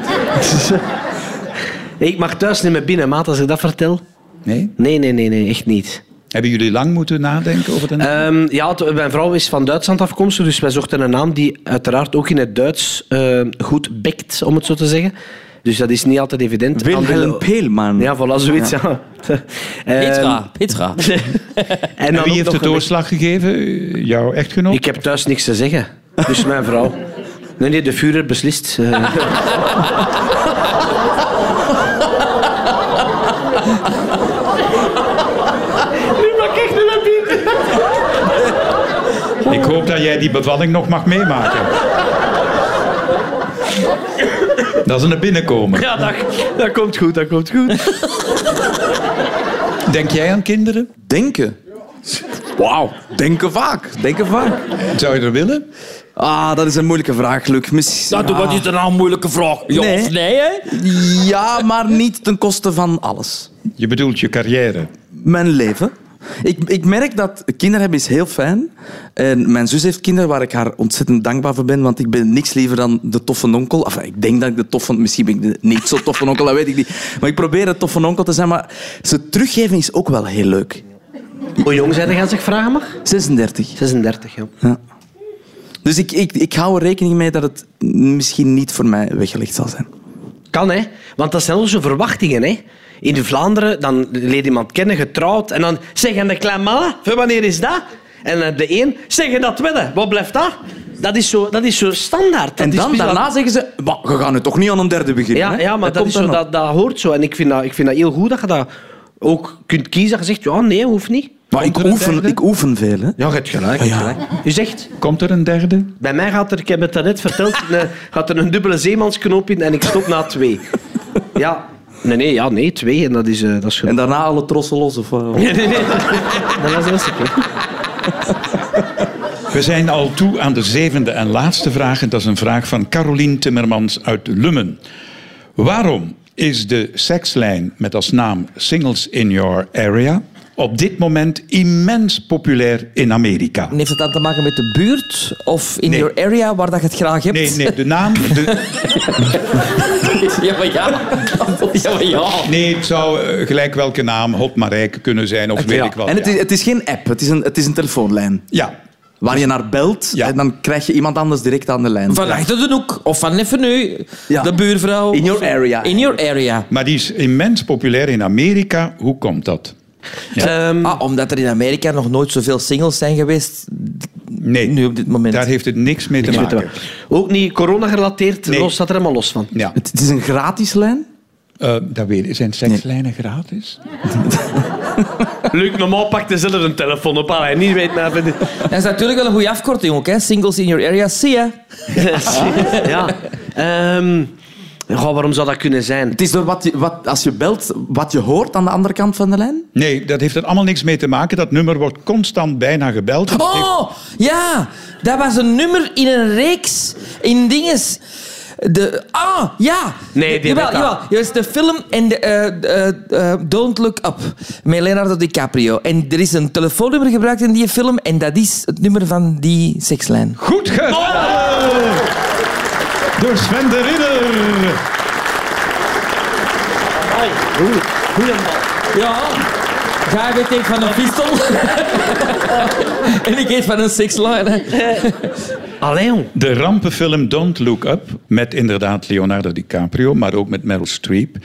Speaker 3: ik mag thuis niet meer binnen, maat, als ik dat vertel.
Speaker 2: Nee?
Speaker 3: Nee, nee, nee, nee echt niet.
Speaker 2: Hebben jullie lang moeten nadenken over de naam?
Speaker 3: Ehm, ja, t- mijn vrouw is van Duitsland afkomstig, dus wij zochten een naam die uiteraard ook in het Duits eh, goed bekt, om het zo te zeggen. Dus dat is niet altijd evident.
Speaker 5: Wilhelm
Speaker 3: Andere-
Speaker 5: Peelman.
Speaker 3: Ja, voilà, zoiets, ja. Ehm,
Speaker 4: Petra, Petra.
Speaker 3: en
Speaker 2: en
Speaker 3: dan
Speaker 2: wie
Speaker 3: ook
Speaker 2: heeft
Speaker 3: nou,
Speaker 2: de
Speaker 3: nog een-
Speaker 2: doorslag gegeven? Eh, Jouw echtgenoot?
Speaker 3: Ik heb thuis niks te zeggen. Dus mijn vrouw. Nee, nee, de vuurder beslist. eh.
Speaker 2: Ik hoop dat jij die bevalling nog mag meemaken. Dat is een binnenkomen.
Speaker 3: Ja, dat, dat komt goed, dat komt goed.
Speaker 2: Denk jij aan kinderen?
Speaker 5: Denken. Wauw, denken vaak. Denken vaak.
Speaker 2: Zou je er willen?
Speaker 5: Ah, dat is een moeilijke vraag, Luc. Miss- ja.
Speaker 7: Wat is er nou een moeilijke vraag? Ja
Speaker 5: Nee.
Speaker 7: of nee, hè?
Speaker 5: ja, maar niet ten koste van alles.
Speaker 2: Je bedoelt je carrière.
Speaker 5: Mijn leven. Ik, ik merk dat kinderen hebben is heel fijn. En mijn zus heeft kinderen waar ik haar ontzettend dankbaar voor ben, want ik ben niks liever dan de toffe onkel. Enfin, ik denk dat ik de toffe... Misschien ben ik de niet zo toffe onkel, dat weet ik niet. Maar ik probeer de toffe onkel te zijn. Maar ze teruggeven is ook wel heel leuk.
Speaker 3: Hoe jong zijn gaan zich vragen mag?
Speaker 5: 36.
Speaker 3: 36, ja.
Speaker 5: Dus ik, ik, ik hou er rekening mee dat het misschien niet voor mij weggelegd zal zijn.
Speaker 3: Kan, hè? Want dat zijn onze verwachtingen, hè? In de Vlaanderen, dan leert iemand kennen, getrouwd. En dan zeggen de klein mannen, "Van wanneer is dat? En eh, de een, zeggen dat wedden, wat blijft dat? Dat is zo, dat is zo standaard. Dat
Speaker 5: en
Speaker 3: is
Speaker 5: dan,
Speaker 3: bizar.
Speaker 5: daarna zeggen ze, "Wa, we gaan nu toch niet aan een derde beginnen.
Speaker 3: Ja,
Speaker 5: hè?"
Speaker 3: ja maar dat,
Speaker 5: komt
Speaker 3: is zo,
Speaker 5: dan nog.
Speaker 3: dat, dat hoort zo. En ik vind dat, ik vind dat heel goed dat je dat ook kunt kiezen. Dat je zegt, ja, nee, hoeft niet.
Speaker 5: Maar ik oefen, ik oefen veel. Hè.
Speaker 3: Ja, je hebt gelijk.
Speaker 5: Ja.
Speaker 3: Je zegt,
Speaker 2: Komt er een derde?
Speaker 3: bij mij gaat er, ik heb het daarnet verteld, een- gaat er een dubbele zeemansknoop in en ik stop na twee. Ja. Nee, nee, ja, nee, twee. En dat is, eh, dat is genoeg.
Speaker 5: En daarna alle trossen los. Of, wat?
Speaker 3: Nee, nee, nee. Dat was dat
Speaker 2: We zijn al toe aan de zevende en laatste vraag. En dat is een vraag van Carolien Timmermans uit Lummen. Waarom is de sekslijn met als naam Singles in Your Area op dit moment immens populair in Amerika?
Speaker 4: En heeft het dan te maken met de buurt of in
Speaker 2: Nee.
Speaker 4: your area waar dat je het graag hebt?
Speaker 2: Nee, nee, de naam. de-
Speaker 7: Ja, maar ja. Ja, maar ja.
Speaker 2: nee, het zou eh, gelijk welke naam, Hop Marijke kunnen zijn of weet
Speaker 5: Ja.
Speaker 2: ik wat.
Speaker 5: en het
Speaker 2: ja.
Speaker 5: is, het is geen app, het is een, het is een telefoonlijn.
Speaker 2: ja.
Speaker 5: Waar je naar belt
Speaker 2: Ja.
Speaker 5: en dan krijg je iemand anders direct aan de lijn.
Speaker 4: Van achter de hoek of van even nu,
Speaker 5: Ja.
Speaker 4: de buurvrouw.
Speaker 5: In your area.
Speaker 4: In your area.
Speaker 2: Maar die is immens populair in Amerika. Hoe komt dat?
Speaker 4: Ah, omdat er in Amerika nog nooit zoveel singles zijn geweest.
Speaker 2: Nee,
Speaker 4: Nu op dit moment.
Speaker 2: daar heeft het niks mee te maken.
Speaker 3: Ook niet corona-gerelateerd,
Speaker 2: Nee.
Speaker 3: los staat er helemaal los van.
Speaker 2: Ja,
Speaker 5: Het, het is een gratis lijn.
Speaker 2: eh, dat weet ik. Zijn sekslijnen gratis?
Speaker 3: Luc, normaal pakt hij zelf een telefoon op, hij niet weet maar vindt...
Speaker 4: Dat is natuurlijk wel een goede afkorting ook, hè? Singles in your area, zie je.
Speaker 3: Ja. Ehm, goh, waarom zou dat kunnen zijn?
Speaker 5: Het is door wat je, wat, als je belt, wat je hoort aan de andere kant van de lijn.
Speaker 2: Nee, dat heeft er allemaal niks mee te maken. Dat nummer wordt constant bijna gebeld. Het heeft-
Speaker 4: Oh, ja. Dat was een nummer in een reeks. In dinges. De, ah, ja.
Speaker 3: Nee, die
Speaker 4: jawel,
Speaker 3: weet dat.
Speaker 4: jawel. Er is de film en de, eh, eh, eh, Don't Look Up met Leonardo DiCaprio. En er is een telefoonnummer gebruikt in die film en dat is het nummer van die sekslijn.
Speaker 2: Goed gedaan! Oh! Door Sven de Ridder.
Speaker 4: Ja. Ga ik denk van een pistool. en ik eet van een sekslijn. hè.
Speaker 3: Allee, jong.
Speaker 2: De rampenfilm Don't Look Up, met inderdaad Leonardo DiCaprio, maar ook met Meryl Streep,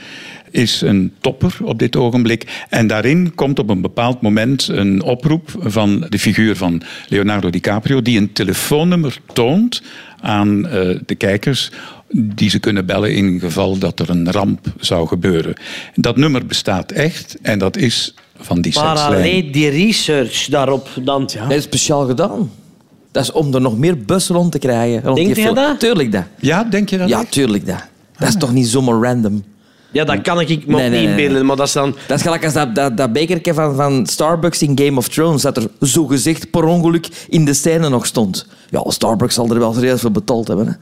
Speaker 2: is een topper op dit ogenblik. En daarin komt op een bepaald moment een oproep van de figuur van Leonardo DiCaprio, die een telefoonnummer toont aan eh, de kijkers die ze kunnen bellen in geval dat er een ramp zou gebeuren. Dat nummer bestaat echt en dat is van die
Speaker 3: Maar
Speaker 2: sekslijn.
Speaker 3: allee, die research daarop dan. Ja.
Speaker 4: Dat is speciaal gedaan. Dat is om er nog meer bus rond te krijgen. rond
Speaker 3: Denk
Speaker 4: die
Speaker 3: jij
Speaker 4: film.
Speaker 3: dat? Ah.
Speaker 4: Tuurlijk dat.
Speaker 2: Ja, denk je dat
Speaker 4: Ja,
Speaker 2: echt?
Speaker 4: tuurlijk dat. Dat is toch niet zomaar random.
Speaker 3: dat kan ik me ook
Speaker 4: Nee, nee, nee.
Speaker 3: niet inbeelden, maar dat is dan...
Speaker 4: Dat is gelijk als dat, dat, dat bekertje van, van Starbucks in Game of Thrones dat er zogezegd per ongeluk in de scène nog stond. Ja, Starbucks zal er wel serieus voor betaald hebben. Hè.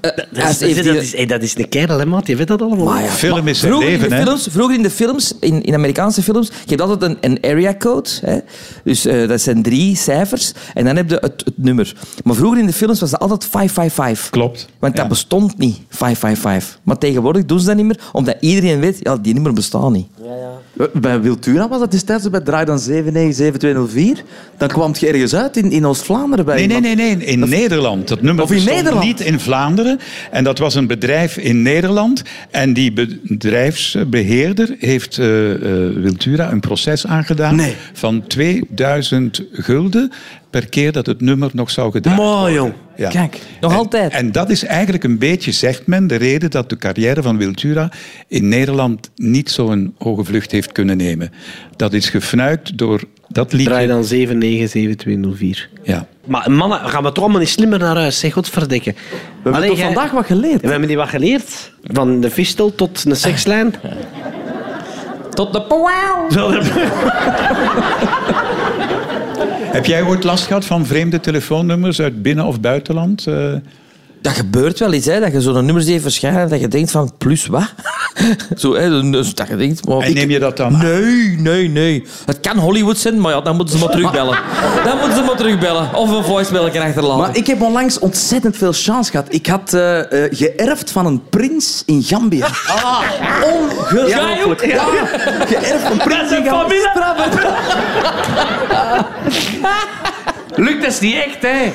Speaker 4: Eh,
Speaker 3: Dat
Speaker 4: als
Speaker 3: is,
Speaker 4: heeft
Speaker 3: dat, is,
Speaker 4: die-
Speaker 3: dat is- hey, dat is een kerel, hè, maat. Je weet dat allemaal.
Speaker 4: Maar ja,
Speaker 2: Film
Speaker 4: maar
Speaker 2: is zijn
Speaker 4: vroeger
Speaker 2: leven,
Speaker 4: in de
Speaker 2: hè.
Speaker 4: films, Vroeger in de films, in, in Amerikaanse films, je hebt altijd een, een area code. Hè? Dus eh, dat zijn drie cijfers. En dan heb je het, het nummer. Maar vroeger in de films was dat altijd 555.
Speaker 2: Klopt.
Speaker 4: Want dat
Speaker 2: Ja.
Speaker 4: bestond niet, 555. Maar tegenwoordig doen ze dat niet meer, omdat iedereen weet, ja, die nummer bestaat niet.
Speaker 5: Eh, Bij Wiltura was dat destijds zo bij Draai dan 797204. Dan kwam het ergens uit in, in Oost-Vlaanderen. bij
Speaker 2: Nee, nee,
Speaker 5: iemand.
Speaker 2: nee, nee. In Nederland. Dat nummer
Speaker 5: Of in
Speaker 2: bestond
Speaker 5: Nederland.
Speaker 2: niet in Vlaanderen. En dat was een bedrijf in Nederland. En die bedrijfsbeheerder heeft eh, eh, Wiltura een proces aangedaan
Speaker 5: Nee.
Speaker 2: van 2000 gulden per keer dat het nummer nog zou gedaan
Speaker 3: Mooi, jong.
Speaker 2: ja.
Speaker 5: Kijk,
Speaker 4: nog
Speaker 2: En-
Speaker 4: altijd.
Speaker 2: En dat is eigenlijk een beetje, zegt men, de reden dat de carrière van Wiltura in Nederland niet zo'n hoge vlucht heeft kunnen nemen. Dat is gefnuikt door dat liedje.
Speaker 3: Draai dan 7977204.
Speaker 2: Ja.
Speaker 3: Maar mannen, gaan we toch allemaal niet slimmer naar huis, zeg. Godverdikke. We
Speaker 5: We hebben toch vandaag wat geleerd.
Speaker 3: We hebben die wat geleerd. Van de fistel tot een sekslijn.
Speaker 4: Tot de pauw.
Speaker 3: Zo, dat-
Speaker 2: Heb jij ooit last gehad van vreemde telefoonnummers uit binnen- of buitenland? Eh,
Speaker 4: Dat gebeurt wel eens, hè, dat je zo'n nummer ziet verschijnen en dat je denkt van, plus wat? zo, hè, dus dat je denkt... Maar
Speaker 2: En neem je dat dan aan?
Speaker 4: Nee, nee, nee. Het kan Hollywood zijn, maar ja, dan moeten ze maar terugbellen. dan moeten ze maar terugbellen. Of een voicemail kan achterlaten.
Speaker 5: Maar ik heb onlangs ontzettend veel chance gehad. Ik had eh, eh, geërfd van een prins in Gambia. Ah, ongelooflijk. Ja, geërfd van een prins in Gambia.
Speaker 7: Lukt dat is niet echt, hè?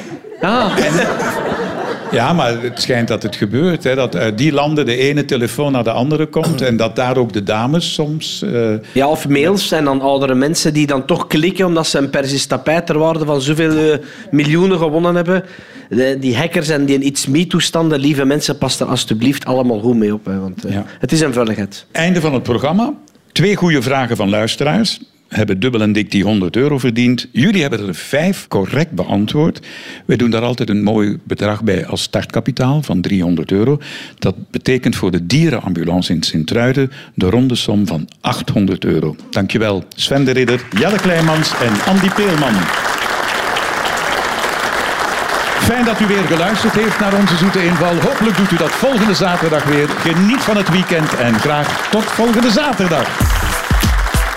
Speaker 2: Ja, maar het schijnt dat het gebeurt. Hè, dat uit die landen de ene telefoon naar de andere komt. En dat daar ook de dames soms... eh,
Speaker 3: Ja, of mails en dan oudere mensen die dan toch klikken omdat ze een Persisch tapijt ter waarde van zoveel eh, miljoenen gewonnen hebben. De- die hackers en die iets me-toestanden, lieve mensen, pas er alstublieft allemaal goed mee op. Hè, want eh,
Speaker 2: Ja.
Speaker 3: het is een vulligheid.
Speaker 2: Einde van het programma. Twee goede vragen van luisteraars. Hebben dubbel en dik die 100 euro verdiend. Jullie hebben er vijf correct beantwoord. We doen daar altijd een mooi bedrag bij als startkapitaal van 300 euro. Dat betekent voor de dierenambulance in Sint-Truiden de ronde som van 800 euro. Dankjewel Sven de Ridder, Jelle Kleimans en Andy Peelman. Fijn dat u weer geluisterd heeft naar onze zoete inval. Hopelijk doet u dat volgende zaterdag weer. Geniet van het weekend en graag tot volgende zaterdag.